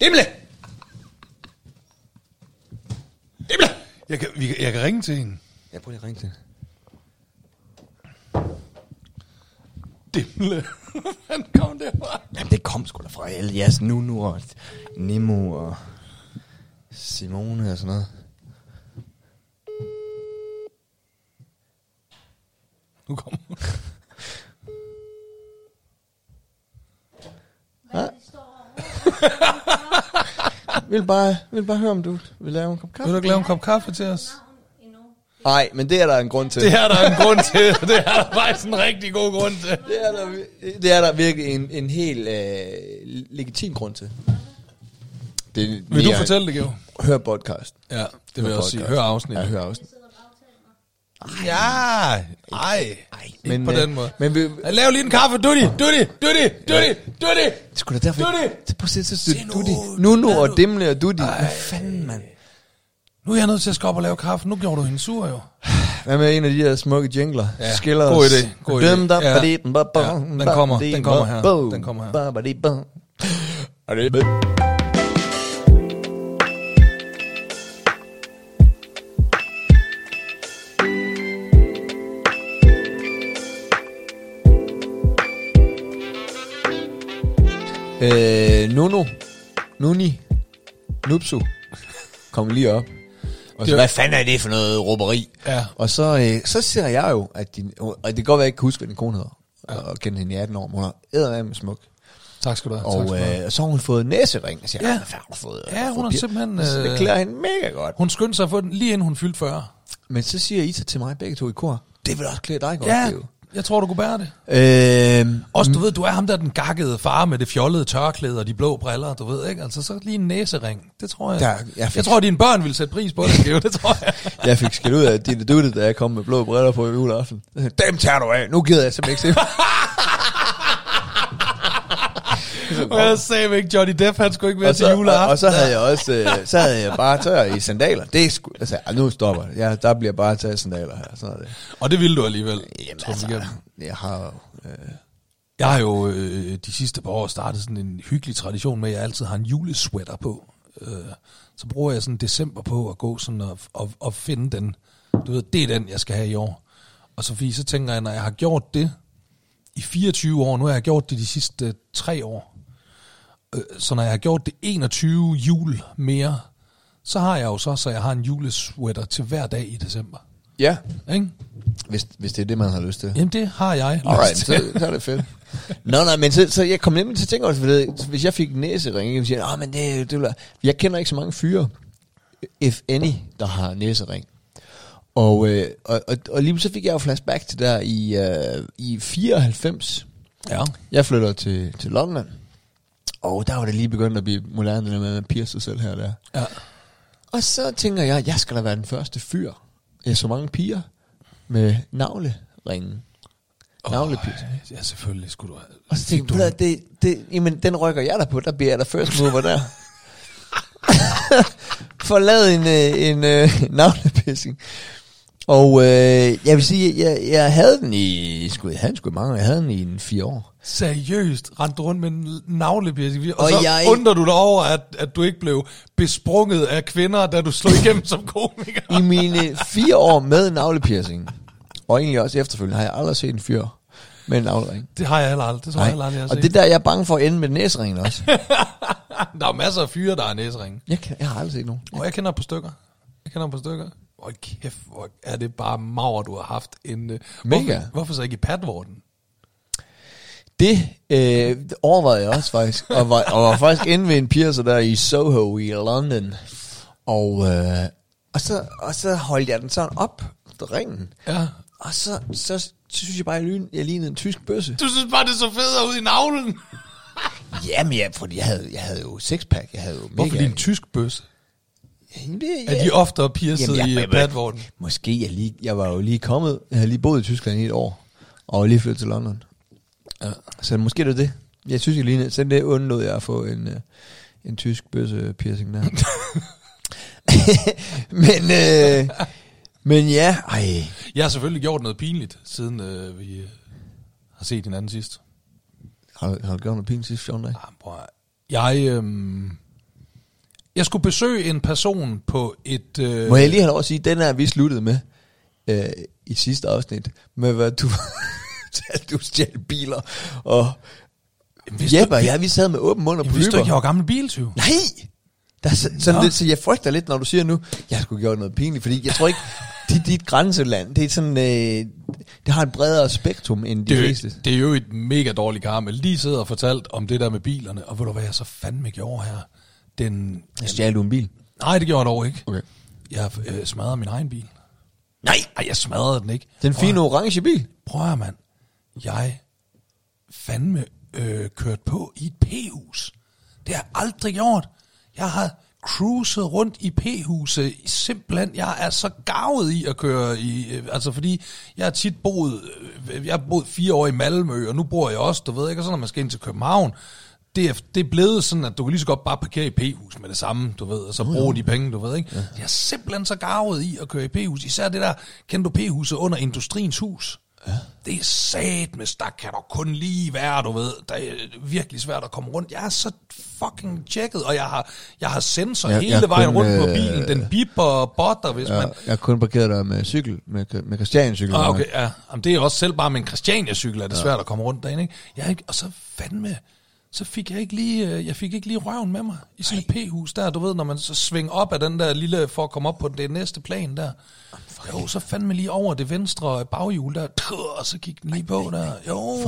Dimle! Dimle!
Jeg kan, vi, kan- jeg kan ringe til hende.
Jeg prøver lige at ringe til hende.
Dimle. Han kom derfra.
Jamen, det kom sgu da fra alle jeres Nunu og Nemo og Simone og sådan noget.
Nu kommer hun.
Vil bare, vil bare høre, om du vil lave en kop
Vil du
kaffe?
ikke lave en kop kaffe til os?
Nej, men det er der en grund til.
Det er der en grund til. Det er der faktisk en rigtig god grund til.
Det er der, vir- det er der virkelig en, en helt øh, legitim grund til. Det,
Vil du fortælle det, Geo?
Hør podcast.
Ja, det vil jeg også sige. Hør
Ja,
afsnittet.
hør afsnit.
Ja, ej. Ikke
men,
på
øh,
den måde.
men vi-
Ja, Lav lige en kaffe, Dutti, Dutti, Dutti, Dutti, Dutti.
Skulle da derfor...
Dutti!
Det prøv at se, så
Se nu,
du Dutti.
du-
Nunu
hvad
og
du-
Dimle og Dutti. Hvad fanden, mand?
Nu er jeg nødt til at skal op og lave kaffe. Nu gjorde du hende sur, jo.
Hvad med en af de der smukke jingler?
Ja,
Skiller
god
os.
idé, god idé.
Dum, da,
Ja.
ba, di, ba, ba,
Ja, den
ba,
kommer,
di,
den kommer
ba,
her,
bo,
den kommer her.
ba, ba, di, ba. Og det er- Øh, Nuno, Nuni, Nupsu, kom lige op. Og så,
Det-
hvad fanden er det for noget råberi?
Ja.
Og så, øh, så ser jeg jo, at din, og det kan godt være, at jeg ikke kan huske, hvad din kone hedder, ja. og kende hende i 18 år, men hun er eddermame smuk.
Tak skal du have. tak skal
Og
du have.
øh, så har hun fået næsering, og siger,
Ja.
ja. hvad fanden har du fået?
Ja, hun har
Papir."
simpelthen,
Så det
øh,
klæder hende mega godt.
Hun skyndte sig at få den, lige inden hun fyldte 40.
Men så siger I så til mig begge to i kor, det vil også klæde dig godt,
Ja,
Theo."
jeg tror, du kunne bære det.
Øhm,
Også, du ved, du er ham der den gakkede far med det fjollede tørklæde og de blå briller, du ved, ikke? Altså, så lige en næsering. Det tror jeg.
Der- jeg fik-
jeg tror, dine børn ville sætte pris på det, Geo. Det tror
*laughs*
jeg.
jeg fik skæld ud af dine dutte, da jeg kom med blå briller på i juleaften. *laughs* Jeg sagde, Dem tager du af, nu gider jeg simpelthen ikke se.
Og jeg sagde ikke, Johnny Depp, han skulle ikke være
og,
til
så, og,
juleaften.
og, så havde jeg også, øh, så havde jeg bare tør i sandaler. Det er sku, altså, "Ah, nu stopper det. Ja, der bliver bare taget sandaler her. Sådan er det.
Og det ville du alligevel. Jamen,
altså, jeg har jo, øh,
Jeg har jo øh, de sidste par år startet sådan en hyggelig tradition med, at jeg altid har en julesweater på. Øh, så bruger jeg sådan december på at gå sådan og, og, og finde den. Du ved, det er den, jeg skal have i år. Og så, fordi så tænker jeg, når jeg har gjort det i 24 år, nu har jeg gjort det de sidste tre år, øh, så når jeg har gjort det 21 jul mere, så har jeg jo så, så jeg har en julesweater til hver dag i december.
ja,
Ikke?
hvis, hvis det er det, man har lyst til.
Jamen det har jeg.
Alright,
lyst
så,
til.
så er det fedt. *laughs* Nå, nej, men så, så jeg kom nemlig til at tænke også, fordi hvis jeg fik næsering, jeg siger, "Nå, men det, det vil jeg. jeg kender ikke så mange fyre, if any, der har næsering. Og, øh, og, og, og lige så fik jeg jo flashback til der i, øh, i 94.
Ja.
Jeg flytter til, til London, og der var det lige begyndt at blive moderne, det der med at man piercer sig selv her og der.
ja.
Og så tænker jeg, jeg skal da være den første fyr. Jeg så mange piger med navleringen. Oh, Navlepiercer.
Ja, selvfølgelig skulle du have.
Og så tænkte jeg, det, det, jamen, den rykker jeg der på, der bliver jeg da first mover der. *laughs* For lavet en, øh, en øh, navlepissing. Og øh, jeg vil sige, jeg, jeg havde den i, sgu, jeg havde den sgu i mange, år. jeg havde den i en fire år.
Seriøst, rendte du rundt med en navlepiercing. Og,
Og
og så
jeg-
jeg... undrer du dig over, at, at du ikke blev besprunget af kvinder, da du slog igennem som komiker.
I mine fire år med navlepiercing, og egentlig også efterfølgende, har jeg aldrig set en fyr med en navlering.
Det har jeg heller aldrig. Det tror jeg heller aldrig, jeg
og det er der, jeg er bange for at ende med næsringen også.
Der er masser af fyre, der er næsring.
Jeg, kan, jeg har aldrig set nogen.
Og jeg kender på stykker. Jeg kender på stykker. Hvor kæft, hvor er det bare maver, du har haft en... øh,
Mega.
Hvorfor, hvorfor så ikke i padvorten?
Det øh, overvejede jeg også faktisk, og var, og var faktisk inde ved en piercer der i Soho i London. Og, øh, og, så, og så holdt jeg den sådan op, ringen.
Ja.
Og så, så, så synes jeg bare, jeg lignede, jeg lignede en tysk bøsse.
Du synes bare, det så federe ud i navlen.
Jamen ja, fordi jeg havde, jeg havde jo sexpack, jeg havde jo mega...
Hvorfor din tysk bøsse?
Jamen, det-
Er
ja.
de oftere pierced
Jamen, jeg-
i øh,
jeg-
padvorten?
Måske jeg lige, jeg var jo lige kommet, jeg havde lige boet i Tyskland i et år, og var lige flyttet til London. Ja. Så måske det er det. Jeg synes, jeg lige, sådan det undlod jeg at få en, øh, en tysk bøsse
*laughs*
piercing der. men, øh, men ja, ej,
Jeg har selvfølgelig gjort noget pinligt, siden øh, vi øh, har set hinanden sidst.
har, du- har du gjort noget penge sidste 14 dage?
Ah, bror. Jeg, øh, jeg skulle besøge en person på et... Øh,
Må jeg lige have lov at sige, den er vi sluttede med øh, i sidste afsnit, med hvad du, *laughs* du stjal biler, og
Vidste
Jeppe
du,
og jeg, vi sad med åben mund og
jeg vidste du
polypper.
ikke, jeg var gammel biltyv?
Nej! Der er så, sådan
Nå.
lidt, så jeg frygter lidt, når du siger nu, jeg skulle gjort noget pinligt, fordi jeg tror ikke, *laughs* dit, dit grænseland, det er sådan, øh, det har et bredere spektrum end de
Det er,
fleste.
jo, det er jo et mega dårligt karma. Lige sidder og fortalt om det der med bilerne, og ved du hvad jeg så fandme gjorde her? Den,
Stjal du en bil?
nej, det gjorde jeg dog ikke.
Okay.
Jeg øh, smadrede min egen bil.
Nej!
Nej, jeg smadrede den ikke.
Den
Prøv at-
fine orange bil?
Prøv at, mand. Jeg fandme øh, kørt på i et p-hus. Det har jeg aldrig gjort. Jeg har cruiset rundt i p-huse. Simpelthen, jeg er så gavet i at køre i... Øh, altså, fordi jeg har tit boet... Øh, jeg har boet fire år i Malmø, og nu bor jeg også, du ved ikke? Og så når man skal ind til København, det er, det er blevet sådan, at du kan lige så godt bare parkere i P-hus med det samme, du ved, og så bruge de penge, du ved, ikke? Ja. Jeg er simpelthen så garvet i at køre i P-hus. Især det der, kender du P-huset under Industriens Hus? Ja. Det er sat med der kan der kun lige være, du ved. Der er øh, virkelig svært at komme rundt. Jeg er så fucking tjekket, og jeg har, jeg har sensor
Ja,
ja,
jeg
hele
har
vejen
kun,
rundt på
øh,
bilen. Den bipper og botter, hvis ja.
Ja,
man...
jeg har kun parkeret der med cykel, med, med Christian cykel.
Ah, okay, ja. Jamen, det er også selv bare med en Christiania-cykel, er det ja. svært at komme rundt derinde, ikke? Jeg er ikke... Og så fandme, så fik jeg ikke lige, øh, jeg fik ikke lige røven med mig i sådan et p-hus der, du ved, når man så svinger op af den der lille, for at komme op på det næste plan der. Jo, så fandme lige over det venstre baghjul der, og så gik den lige på der. Jo,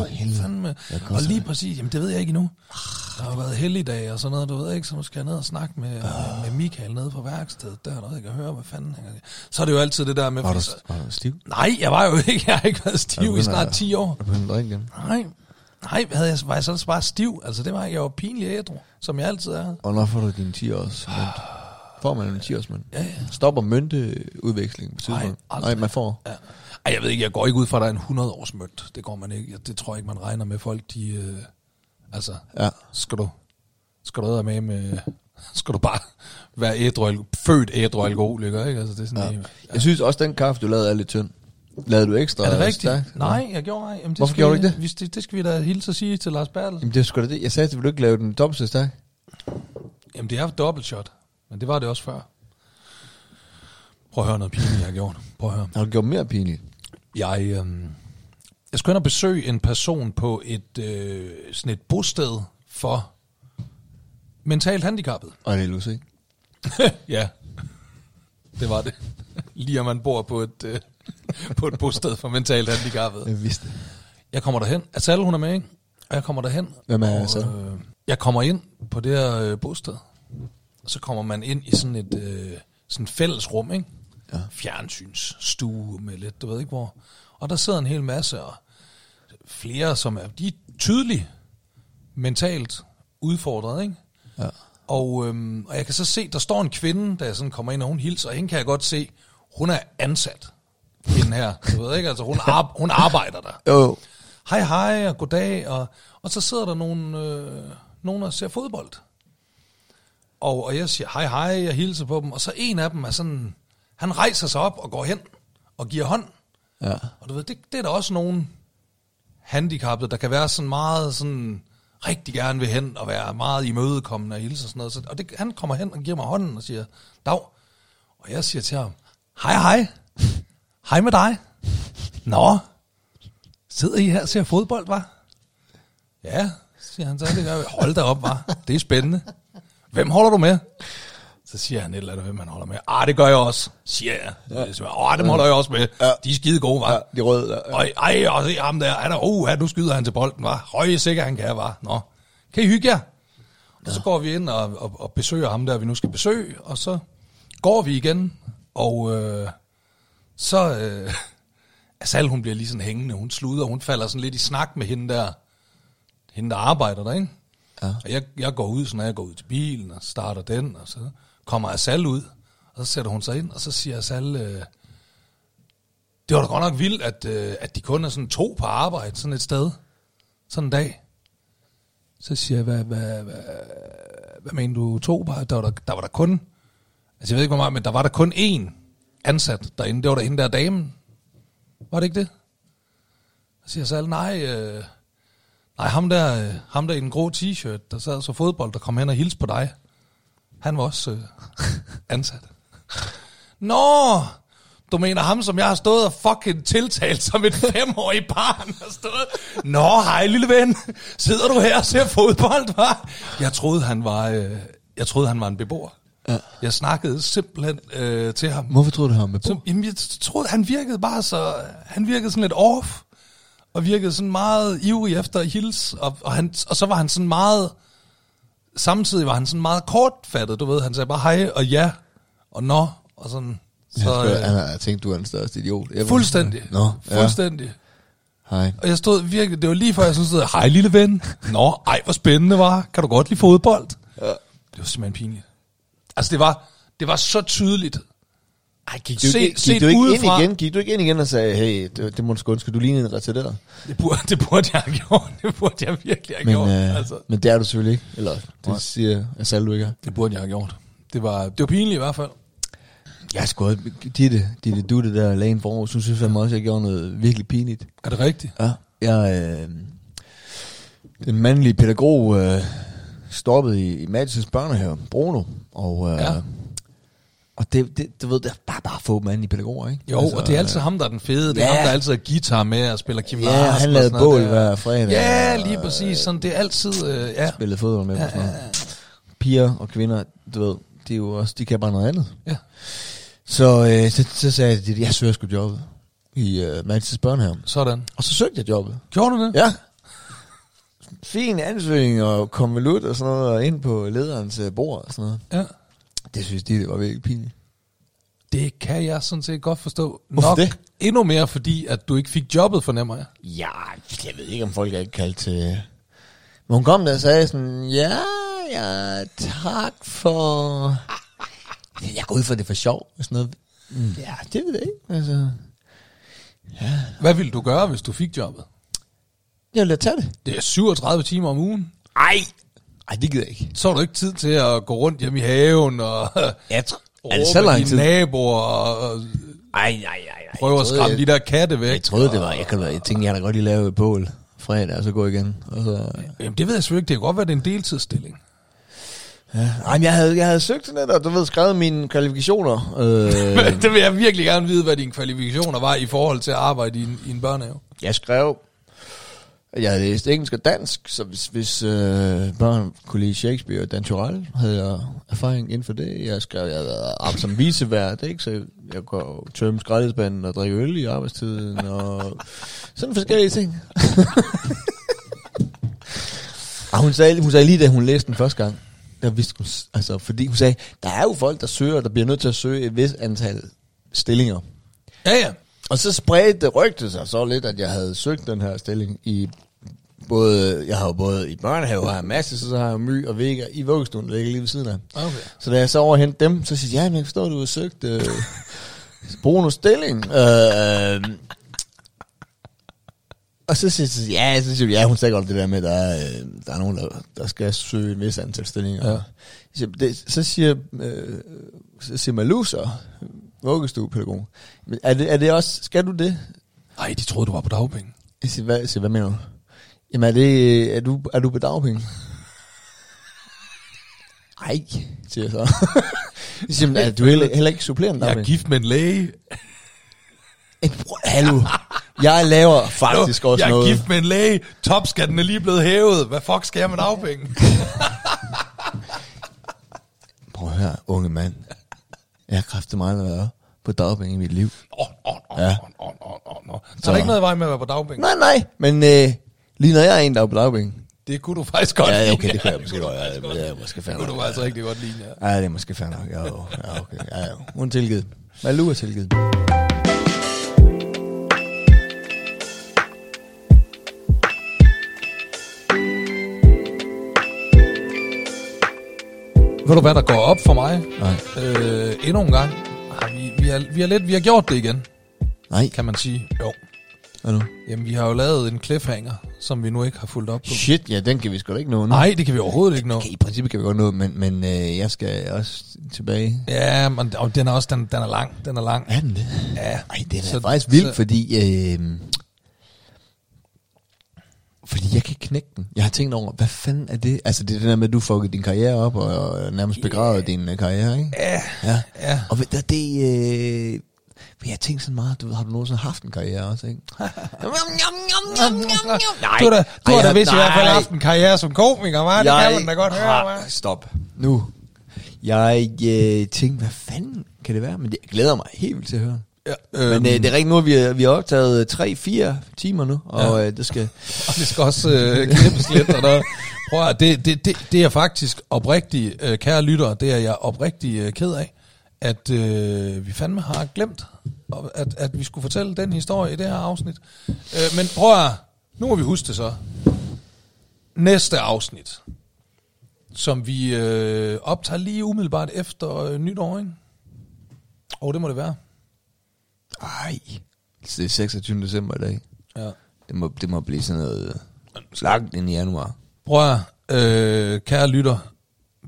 fandme. Og lige præcis, jamen det ved jeg ikke endnu.
Ah.
Der har været helligdag og sådan noget, du ved ikke, så nu skal jeg ned og snakke med,
Ah.
med Michael nede på værkstedet der, der ikke at høre, hvad fanden han Så er det jo altid det der med...
Var du,
fordi så-
var du stiv?
Nej, jeg var jo ikke, *laughs* jeg har ikke været stiv i
begynder
snart
at-
10 år.
Er du begyndt at drikke igen?
Nej, nej, havde jeg, var jeg så bare stiv? Altså, det var jeg var pinlig ædru, som jeg altid er.
Og når får du din 10 års mønt? Får man en 10 års mønt? Ja, ja. Stopper mønteudvekslingen på tidspunkt? Nej,
aldrig.
Nej, man får.
Ja. Ej, jeg ved ikke, jeg går ikke ud fra, at der er en 100 års mønt. Det går man ikke. Det tror jeg ikke, man regner med folk, de... Øh, altså,
Ja.
skal du, skal du med med... *laughs* Skal du bare være ædru, alko- født ædru alkoholiker, ikke? Altså, det er sådan, ja.
Jeg synes også, den kaffe, du lavede, er lidt tynd. Lavede du ekstra
Er det rigtigt?
stærkt?
Nej, jeg gjorde ej. Jamen, det
Hvorfor
skal
gjorde
vi-
du ikke det?
vi- det? Det skal vi da hilse og sige til Lars Bertel.
Jamen, det er sgu da det. Jeg sagde, at du ville ikke lave den dobbelt så stærk.
Jamen, det er dobbelt shot, men det var det også før. Prøv at høre noget pinligt, jeg har gjort. Prøv at høre.
Har du gjort mere pinligt?
Jeg, øhm, jeg skulle hen og besøge en person på et, øh, sådan et bosted for mentalt handicappet.
Ej, det er lus, ikke?
ja, det var det. Lige om man bor på et, øh, på et bosted for mentalt handicappet.
Jeg vidste det.
Jeg kommer derhen. Asal, hun er med, ikke? Og jeg kommer derhen.
Hvem er
og,
Asal?
Øh, jeg kommer ind på det her øh, bosted. Og så kommer man ind i sådan et øh, sådan et fælles rum, ikke? Ja. Fjernsynsstue med lidt, du ved ikke hvor. Og der sidder en hel masse, og flere, som er, de er tydeligt mentalt udfordret, ikke?
Ja.
Og, øhm, og jeg kan så se, der står en kvinde, der sådan kommer ind, og hun hilser, og hende kan jeg godt se, hun er ansat, hende her. Du ved ikke, altså hun, ar- hun arbejder der
Jo, jo.
hej hej og goddag, og, og så sidder der nogen, øh, nogen og ser fodbold. Og, og jeg siger hej hej, jeg hilser på dem, og så en af dem er sådan, han rejser sig op og går hen og giver hånd.
Ja.
Og du ved, det, det er der også nogen handicappede, der kan være sådan meget sådan, rigtig gerne vil hen og være meget imødekommende og hilse og sådan noget. Så, og det, han kommer hen og giver mig hånden og siger, dag. Og jeg siger til ham, hej hej, hej med dig. Nå, sidder I her og ser fodbold, var? Ja, siger han så. Det gør vi. Hold da op, var. Det er spændende. Hvem holder du med? Så siger han et eller andet, hvem han holder med. Ah, det gør jeg også, siger jeg. Åh, dem holder jeg også med. De er skide gode, var.
De røde der.
Og, ej, og se ham der, han er, uh, nu skyder han til bolden, var. Høje sikker han kan, var. Nå, kan I hygge jer? Og så går vi ind og, og, og besøger ham der, vi nu skal besøge, og så går vi igen, og øh, så, øh, *laughs* Asal, hun bliver lige sådan hængende, hun sluder, hun falder sådan lidt i snak med hende der, hende der arbejder der, ikke? Ja. Og jeg, jeg går ud, så når jeg går ud til bilen og starter den, og så kommer Asal ud, og så sætter hun sig ind, og så siger Asal, øh, det var da godt nok vildt, at, øh, at de kun er sådan to på arbejde sådan et sted, sådan en dag. Så siger jeg, hvad, hvad, hvad, hvad mener du, to på? Der var der, der var der kun, altså jeg ved ikke hvor meget, men der var der kun én ansat derinde, det var der hende der damen. Var det ikke det? Så siger jeg så alle, nej, øh, nej ham, der, øh, ham der i den grå t-shirt, der sad og så fodbold, der kom hen og hilste på dig. Han var også øh, ansat. Nå, du mener ham, som jeg har stået og fucking tiltalt som et femårig barn og stået. Nå, hej lille ven, sidder du her og ser fodbold, var? Jeg troede, han var, øh, jeg troede, han var en beboer. Ja. Jeg snakkede simpelthen øh, til ham.
Hvorfor troede du, han var med på?
Så, jamen, jeg troede, han virkede bare så... Han virkede sådan lidt off, og virkede sådan meget ivrig efter at hilse, og, og, han, og så var han sådan meget... Samtidig var han sådan meget kortfattet, du ved. Han sagde bare hej og ja og nå, og sådan... Så,
Så,
øh,
han har tænkt, du er den største idiot. Jeg ved-
fuldstændig.
Nå, ja.
Fuldstændig.
Hej.
Og jeg stod virkelig, det var lige før jeg synes, at hej lille ven. Nå, ej hvor spændende var. Kan du godt lide fodbold? Ja. Det var simpelthen pinligt. Altså det var, det var så tydeligt. Ej, gik
Du, gik, gik du ikke ind igen? Gik du ikke ind igen og sagde, hey, det, det må du sgu undskylde, du lignede en retarderet?
Det burde, det burde jeg have gjort. Det burde jeg virkelig have
Men,
gjort.
øh,
Altså.
men det er du selvfølgelig ikke. Eller det siger jeg selv, du ikke er.
Det burde jeg have gjort. Det var, det var pinligt i hvert fald.
Jeg er sgu også, Ditte, Ditte Dutte der, lægen for Aarhus, hun synes fandme også, at jeg gjorde noget virkelig pinligt.
Er det rigtigt?
Ja. Jeg, øh, den mandlige pædagog øh, stoppede i, i Madsens børnehave, Bruno, og, øh,
Ja.
ja. og det, det, du ved, der var bare få dem anden i pædagoger, ikke?
Jo, altså, og det er altid ham, der er den fede. Det er
øh, Ja.
ham, der altid har guitar med og spiller Kim
Ja,
Larsen og
han lavede
Ah, sådan noget
bål
der.
hver fredag.
Ja, lige
og
præcis. Sådan, det er altid... Øh, ja.
Spillede fodbold med ja, og sådan noget. Piger og kvinder, du ved, de, er jo også, de kan bare noget andet.
Ja.
Så, øh, så, så sagde jeg, at jeg søger sgu jobbet i øh, Mads' børnehave.
Sådan.
Og så søgte jeg jobbet.
Gjorde du det?
Ja. Fin ansøgning og konvolut og sådan noget, og ind på lederens øh, bord og sådan noget.
ja.
Det synes de, det var virkelig pinligt.
Det kan jeg sådan set godt forstå.
Hvorfor
Nok
det?
endnu mere, fordi at du ikke fik jobbet, fornemmer jeg.
Ja, jeg ved ikke, om folk er ikke kaldt til... Men hun kom der og sagde sådan, ja, ja, tak for... Jeg går ud for det er for sjov og sådan noget. Mm. Ja, det ved jeg ikke. Altså,
Hvad ville du gøre, hvis du fik jobbet?
jeg vil da tage det.
Det er 37 timer om ugen.
Ej! Ej, det gider jeg ikke.
Så har du ikke tid til at gå rundt hjemme i haven og
Ja, tr-
råbe dine naboer og og
Ej, nej, nej, nej.
prøve at skræmme de der katte væk.
Jeg troede, det var... Jeg, kan, jeg tænkte, jeg har da godt lige lave et bål fredag, og så gå igen. Og så,
Jamen, det ved jeg selvfølgelig ikke. Det kan godt være, det er en deltidsstilling.
Ej, men jeg havde, jeg havde søgt sådan lidt, og du ved, skrevet mine kvalifikationer.
*laughs*
Øh,
det vil jeg virkelig gerne vide, hvad dine kvalifikationer var i forhold til at arbejde i en, i en børnehave.
jeg skrev, at jeg havde læst engelsk og dansk, så hvis, hvis øh, børn kunne lide Shakespeare og Dan Turell, havde jeg erfaring inden for det. Jeg skrev, jeg havde været arbejdet som visevært, ikke? så jeg går tømme skraldespanden og drikke øl i arbejdstiden, og sådan forskellige ting. *laughs* Og Ah, hun sagde, hun sagde lige, da hun læste den første gang, der vidste hun, s- altså, fordi hun sagde, der er jo folk, der søger, der bliver nødt til at søge et vis antal stillinger.
Ja, ja.
Og så spredte rygtet sig så lidt, at jeg havde søgt den her stilling i både, jeg har jo både i børnehave, har jeg masse, så har jeg my og vega i vuggestuen, der ligger lige ved siden af.
Okay.
Så da jeg så overhente dem, så siger jeg, ja, men jeg forstår, du har søgt øh, *laughs* Brunos stilling. Øh, og så siger jeg, ja, så siger jeg, ja, hun sagde godt det der med, at der er, øh, der er nogen, der, der skal søge en vis antal stillinger.
Ja.
Ja. Så, det, så siger, øh, så siger Malou så, vuggestuepædagog, "Men er det, er det også, skal du det?
Ej, de troede, du var på dagpenge.
Jeg siger, hvad, jeg siger, hvad mener du? Jamen, er, det, er, du, er du på dagpenge? Ej, siger jeg så. Jeg siger, men er du heller, heller ikke supplerende
Jeg er
dagpenge?
gift med en læge.
Jeg Hallo, jeg laver faktisk også
jeg er
noget.
gift med en læge. Topskatten er lige blevet hævet. Hvad fuck skal jeg med *laughs* dagpenge?
Prøv at høre, unge mand. Jeg har kræftet meget været på dagpenge i mit liv.
Åh, åh, åh,
Ja.
åh, åh, åh, åh, åh. Så er der ikke noget i vejen med at være på dagpenge?
Nej, nej, men øh, lige når jeg er en, der er på dagpenge.
Det kunne du faktisk godt
Ja,
lide.
okay, det kunne jeg måske
kunne
godt.
du
Ja,
faktisk
det er måske fair
Det kunne
nok,
du
ja.
faktisk rigtig godt lide, ja.
Ja, det er måske fair nok. Ja, jo. ja okay. Ja, ja. Hun er tilgivet. Malou er tilgivet.
Ved du hvad, der går op for mig?
Nej.
Øh, endnu en gang. Har vi, vi, har, vi, har lidt, vi har gjort det igen,
Nej,
kan man sige. Jo.
hvad nu?
Jamen, vi har jo lavet en cliffhanger, som vi nu ikke har fulgt op på.
Shit, ja, den kan vi sgu da ikke nå nu.
Nej, det kan vi overhovedet ikke nå.
Okay, i princippet kan vi godt nå, men, men øh, jeg skal også tilbage.
Ja, men og den er også den, den er lang. Den er lang.
Er den det?
Ja.
Ej, det er
Så-
så, faktisk vildt,
så-
så... fordi... Øh, fordi jeg kan ikke knække den. Jeg har tænkt over, hvad fanden er det? Altså, det er det der med, at du fuckede din karriere op, og, og nærmest begravede yeah. din øh, karriere, ikke?
Ja.
Ja.
Ja.
Og ved, der, er det... Øh, men jeg har tænkt sådan meget, du ved, har du nogensinde haft en karriere også, ikke? nej.
Du har da, du har
Ej,
da
jeg-
vist i hvert fald
nej.
haft en karriere som komiker, hva'? Det kan man da godt høre, hva'?
har- Stop. Nu. Jeg øh, tænkte, hvad fanden kan det være? Men det jeg glæder mig helt vildt til at høre.
Ja,
Øhm. Men øh, det er rigtigt nu, at vi, er- vi har optaget 3-4 timer nu, og ja. øh, det skal...
Og det skal også øh, klippes lidt. Og der. Prøv at, høre, det, det, det, det er jeg faktisk oprigtig, øh, kære lyttere, det er jeg oprigtig øh, ked af, at øh, vi fandme har glemt, og at, at vi skulle fortælle den historie i det her afsnit. Øh, men prøv at, høre, nu må vi huske det så. Næste afsnit, som vi øh, optager lige umiddelbart efter øh, nytår, ikke? Og det må det være.
Ej, det er 26. december i dag.
Ja.
Det må, det må blive sådan noget øh, langt ind i januar.
Prøv at, høre, øh, kære lytter,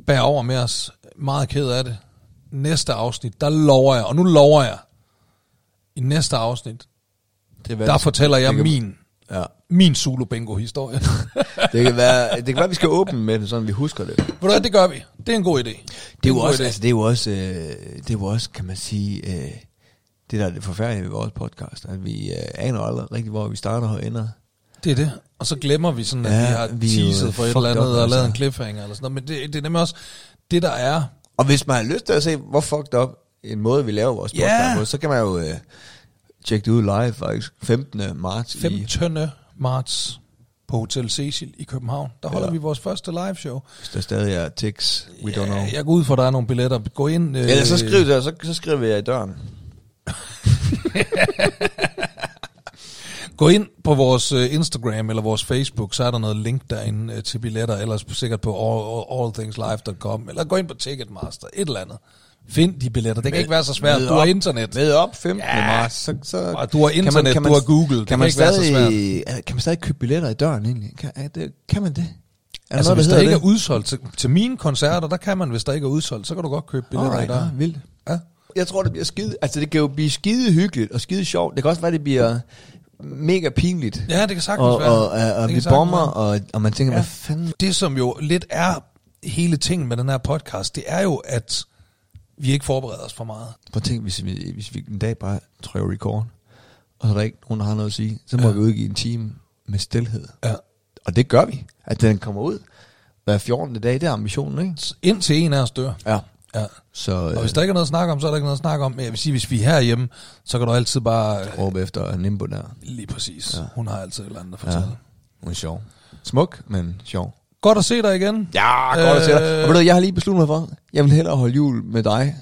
bær over med os. Meget ked af det. Næste afsnit, der lover jeg, og nu lover jeg, i næste afsnit,
Det kan være,
der fortæller jeg
det kan-
min,
Ja.
min Zulu Bingo *laughs* historie.
Det kan være, det kan være, vi skal åbne med det, sådan vi husker det.
Ved du hvad, det gør vi. Det er en god idé.
Det er jo
en god
også,
idé.
altså, det er jo også, øh, det er jo også, kan man sige, øh, det der er det forfærdelige ved vores podcast, at vi øh, aner aldrig rigtig, hvor vi starter og ender.
Det er det. Og så glemmer vi sådan, at
Ja,
ja, vi har
vi
vi
er jo
teaset for et eller
fucked
andet,
up,
og
altså.
lavet en cliffhanger eller sådan noget. Men det, det er nemlig også det, der er.
Og hvis man har lyst til at se, hvor fucked up en måde, vi laver vores
Ja.
podcast på, så kan man jo øh, tjekke det ud live faktisk. 15. marts.
15.
I,
marts på Hotel Cecil i København. Der holder
Ja.
ja. vi vores første live show.
hvis der stadig er tics, we don't know.
Jeg går ud for, at der er nogle billetter. Gå ind. Øh,
Eller så skriv det, og så, så skriver jeg i døren.
Gå ind på vores øh, Instagram eller vores Facebook, så er der noget link derinde øh, til billetter, ellers på- sikkert på all, all, allthingslive.com, eller gå ind på Ticketmaster, et eller andet. Find de billetter. Det kan ikke være så svært.
Mød
Du har
op.
internet.
Med op 15.
Ja.
marts, så, så
Og du har internet, du har Google. Det
Kan
kan
man,
ikke være så
stadig, øh, kan man stadig købe billetter i døren egentlig? Kan, er det, kan man det? Er
Altså,
der
hvis
noget,
der
der
ikke
hedder
er udsolgt til, til mine koncerter, der kan man, hvis der ikke er udsolgt, så kan du godt købe
det?
billetter
Alright,
i dag.
nå, vildt.
Ja.
Jeg tror, det bliver skide... Altså, det kan jo blive skide hyggeligt og skide sjovt. Det kan også være, det bliver mega pinligt.
ja, det kan sagtens
og,
være.
og, og, og
Det
vi
kan sagtens
bomber,
være.
og, og man tænker, ja.
Ja.
hvad fanden...
Det, som jo lidt er hele tingen med den her podcast, det er jo, at vi ikke forbereder os for meget.
Prøv at tænk, hvis vi, hvis vi en dag bare trykker record, og så er der ikke nogen, der har noget at sige, så må ja.
Ja.
vi udgive en time med stillhed.
Ja.
Og det gør vi. At den kommer ud hver 14. dag, det er ambitionen, ikke?
Indtil en af os dør.
Ja.
Ja.
Så
Og
øh,
hvis der ikke er noget at snakke om, så er der ikke noget at snakke om. Men jeg vil sige, hvis vi er herhjemme, så kan du altid bare...
råb efter Nimbo der.
Lige præcis.
Ja.
Ja. Hun har altid et eller andet at
Ja.
fortælle. Ja.
Hun er sjov. Smuk, men sjov.
Godt at se dig igen.
Ja, godt øh, at se dig.
Øh.
Og ved du, jeg har lige besluttet mig for, jeg vil hellere holde jul med dig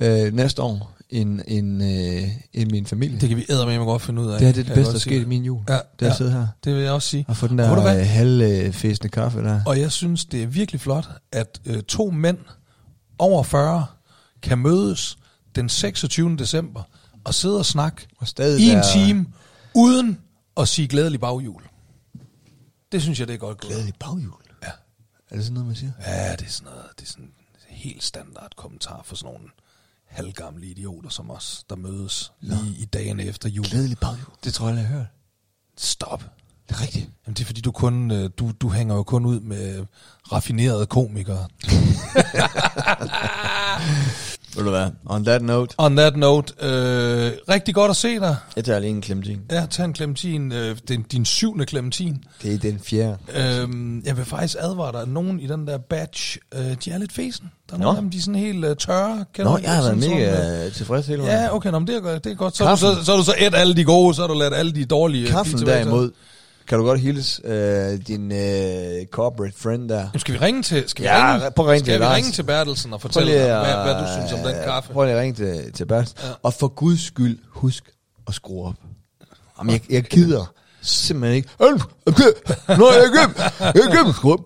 øh, næste år, end, end, øh, end min familie.
Det kan vi eddermame godt finde ud af.
Det her det er det
kan jeg
bedste, der
godt
skete i
sige.
min jul.
Ja,
Da jeg
ja.
sidder her
Det vil jeg også sige.
og får den
Ved du
der
hvad?
øh, halvfæsende kaffe der.
Og jeg synes, det er virkelig flot, at øh, to mænd over 40 kan mødes den 26. december og sidde og snakke
Og stadig
i en
være-
time, uden at sige glædelig baghjul. Det synes jeg, det er godt gået.
Glædelig baghjul.
Ja.
Er det sådan noget, man siger?
ja, det er sådan noget, det er sådan en helt standard kommentar for sådan nogle halvgamle idioter som os, der mødes lige i dagene efter jul.
Glædelig baghjul. Det tror jeg, jeg har hørt.
Stop.
Det er rigtigt.
Jamen, det er fordi, du, kun, øh, du, du hænger jo kun ud med raffinerede komikere.
Ved du hvad? On that note,
On that note, øh, rigtig godt at se dig.
jeg tager lige en klemting.
Ja, tag en clementin. Øh, din, din syvende clementin.
Det er den fjerde.
Øh, jeg vil faktisk advare dig, at nogen i den der batch, øh, de er lidt fesen. Der er
Nå.
nogle af dem, de er sådan helt øh, tørre. Kender
Nå,
du
jeg har
det?
været
Sådan- sådan, øh,
mega tilfreds hele vejen.
Ja, okay, nå, men det er godt. Det er godt. Så, har du,
Kaffen.
så, så har du så et alle de gode, så har du ladt alle de dårlige. øh, blive
Kaffen
tilbage til.
derimod, kan du godt hilse øh, din øh, corporate friend der.
Jamen, skal vi ringe til, skal
Ja,
vi ringe,
prøv at ringe
skal
til
vi
Lars.
ringe til Bertelsen og fortælle
Prøv lige
ham, hvad,
at- øh,
hvad, du synes om den kaffe?
Prøv lige at ringe til, til Bert. Ja.
Ja.
Og for guds skyld, husk at skrue op. Jamen, jeg, jeg gider simpelthen ikke. Øh, jeg gider- Nå, jeg gider, jeg gider, skru op.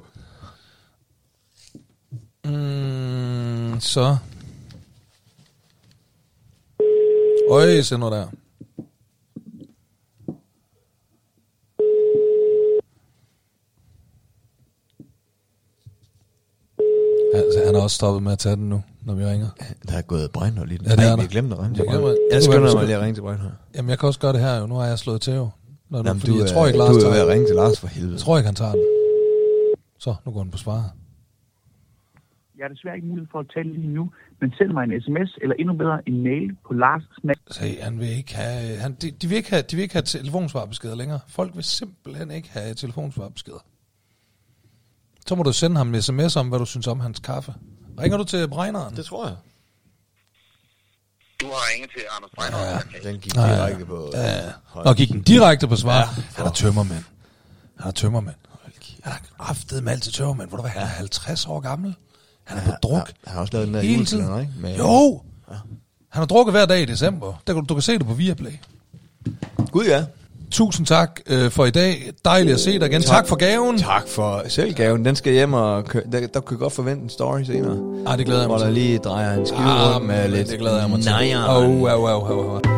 Mm, så. Øj, se nu der. Altså, han er også stoppet med at tage den nu, når vi ringer.
Der er gået Breinholt i den.
Ja, det er
Nej,
der.
vi glemte at ringe til
Jeg glemmer-
Breinholt.
Nu
Jeg
er
skynder
vi
mig
sgu-
lige at ringe til Breinholt.
Jamen, jeg kan også gøre det her jo. Nu har jeg slået til jo. Når Jamen,
Jamen,
fordi
du,
jeg
er-
tror ikke, Lars
du er ved
tager
at
den.
ringe til Lars for helvede.
Jeg tror ikke, han tager den. Så, nu går den på svaret.
Jeg har desværre ikke mulighed for at tale lige nu, men send mig en sms eller endnu bedre en mail på lars
Se, han vil ikke have, han, de, de, vil ikke have, de vil ikke have telefonsvarbeskeder længere. Folk vil simpelthen ikke have telefonsvarbeskeder. Så må du sende ham en sms om, hvad du synes om hans kaffe. Ringer du til Brejneren?
Det tror jeg.
Du har ringet til Anders Breinholt. Ja.
Den gik direkte på...
Ja. Og gik den direkte på svar. Ja, han er tømmermand. Han er tømmermand. Han er kraftet med altid tømmermand. Hvor du hvad, han er 50 år gammel. Han er på druk.
Han har også lavet den der
Hele
julekalender,
tiden.
ikke? Med-
Jo! Han har drukket hver dag i december. Der kan du, du kan se det på Viaplay.
Gud ja.
Tusind tak øh, for i dag. Dejligt at se dig igen. Tak for gaven.
Tak for selvgaven. Den skal hjem og... Kø- der, der kunne jeg godt forvente en story senere.
Ej, Ah, det glæder jeg
Hvor
mig
der
til. Ah,
lige drejer en skive rundt med
men
lidt...
Det glæder jeg mig til.
Nejeren.
Au, au, au, au, au.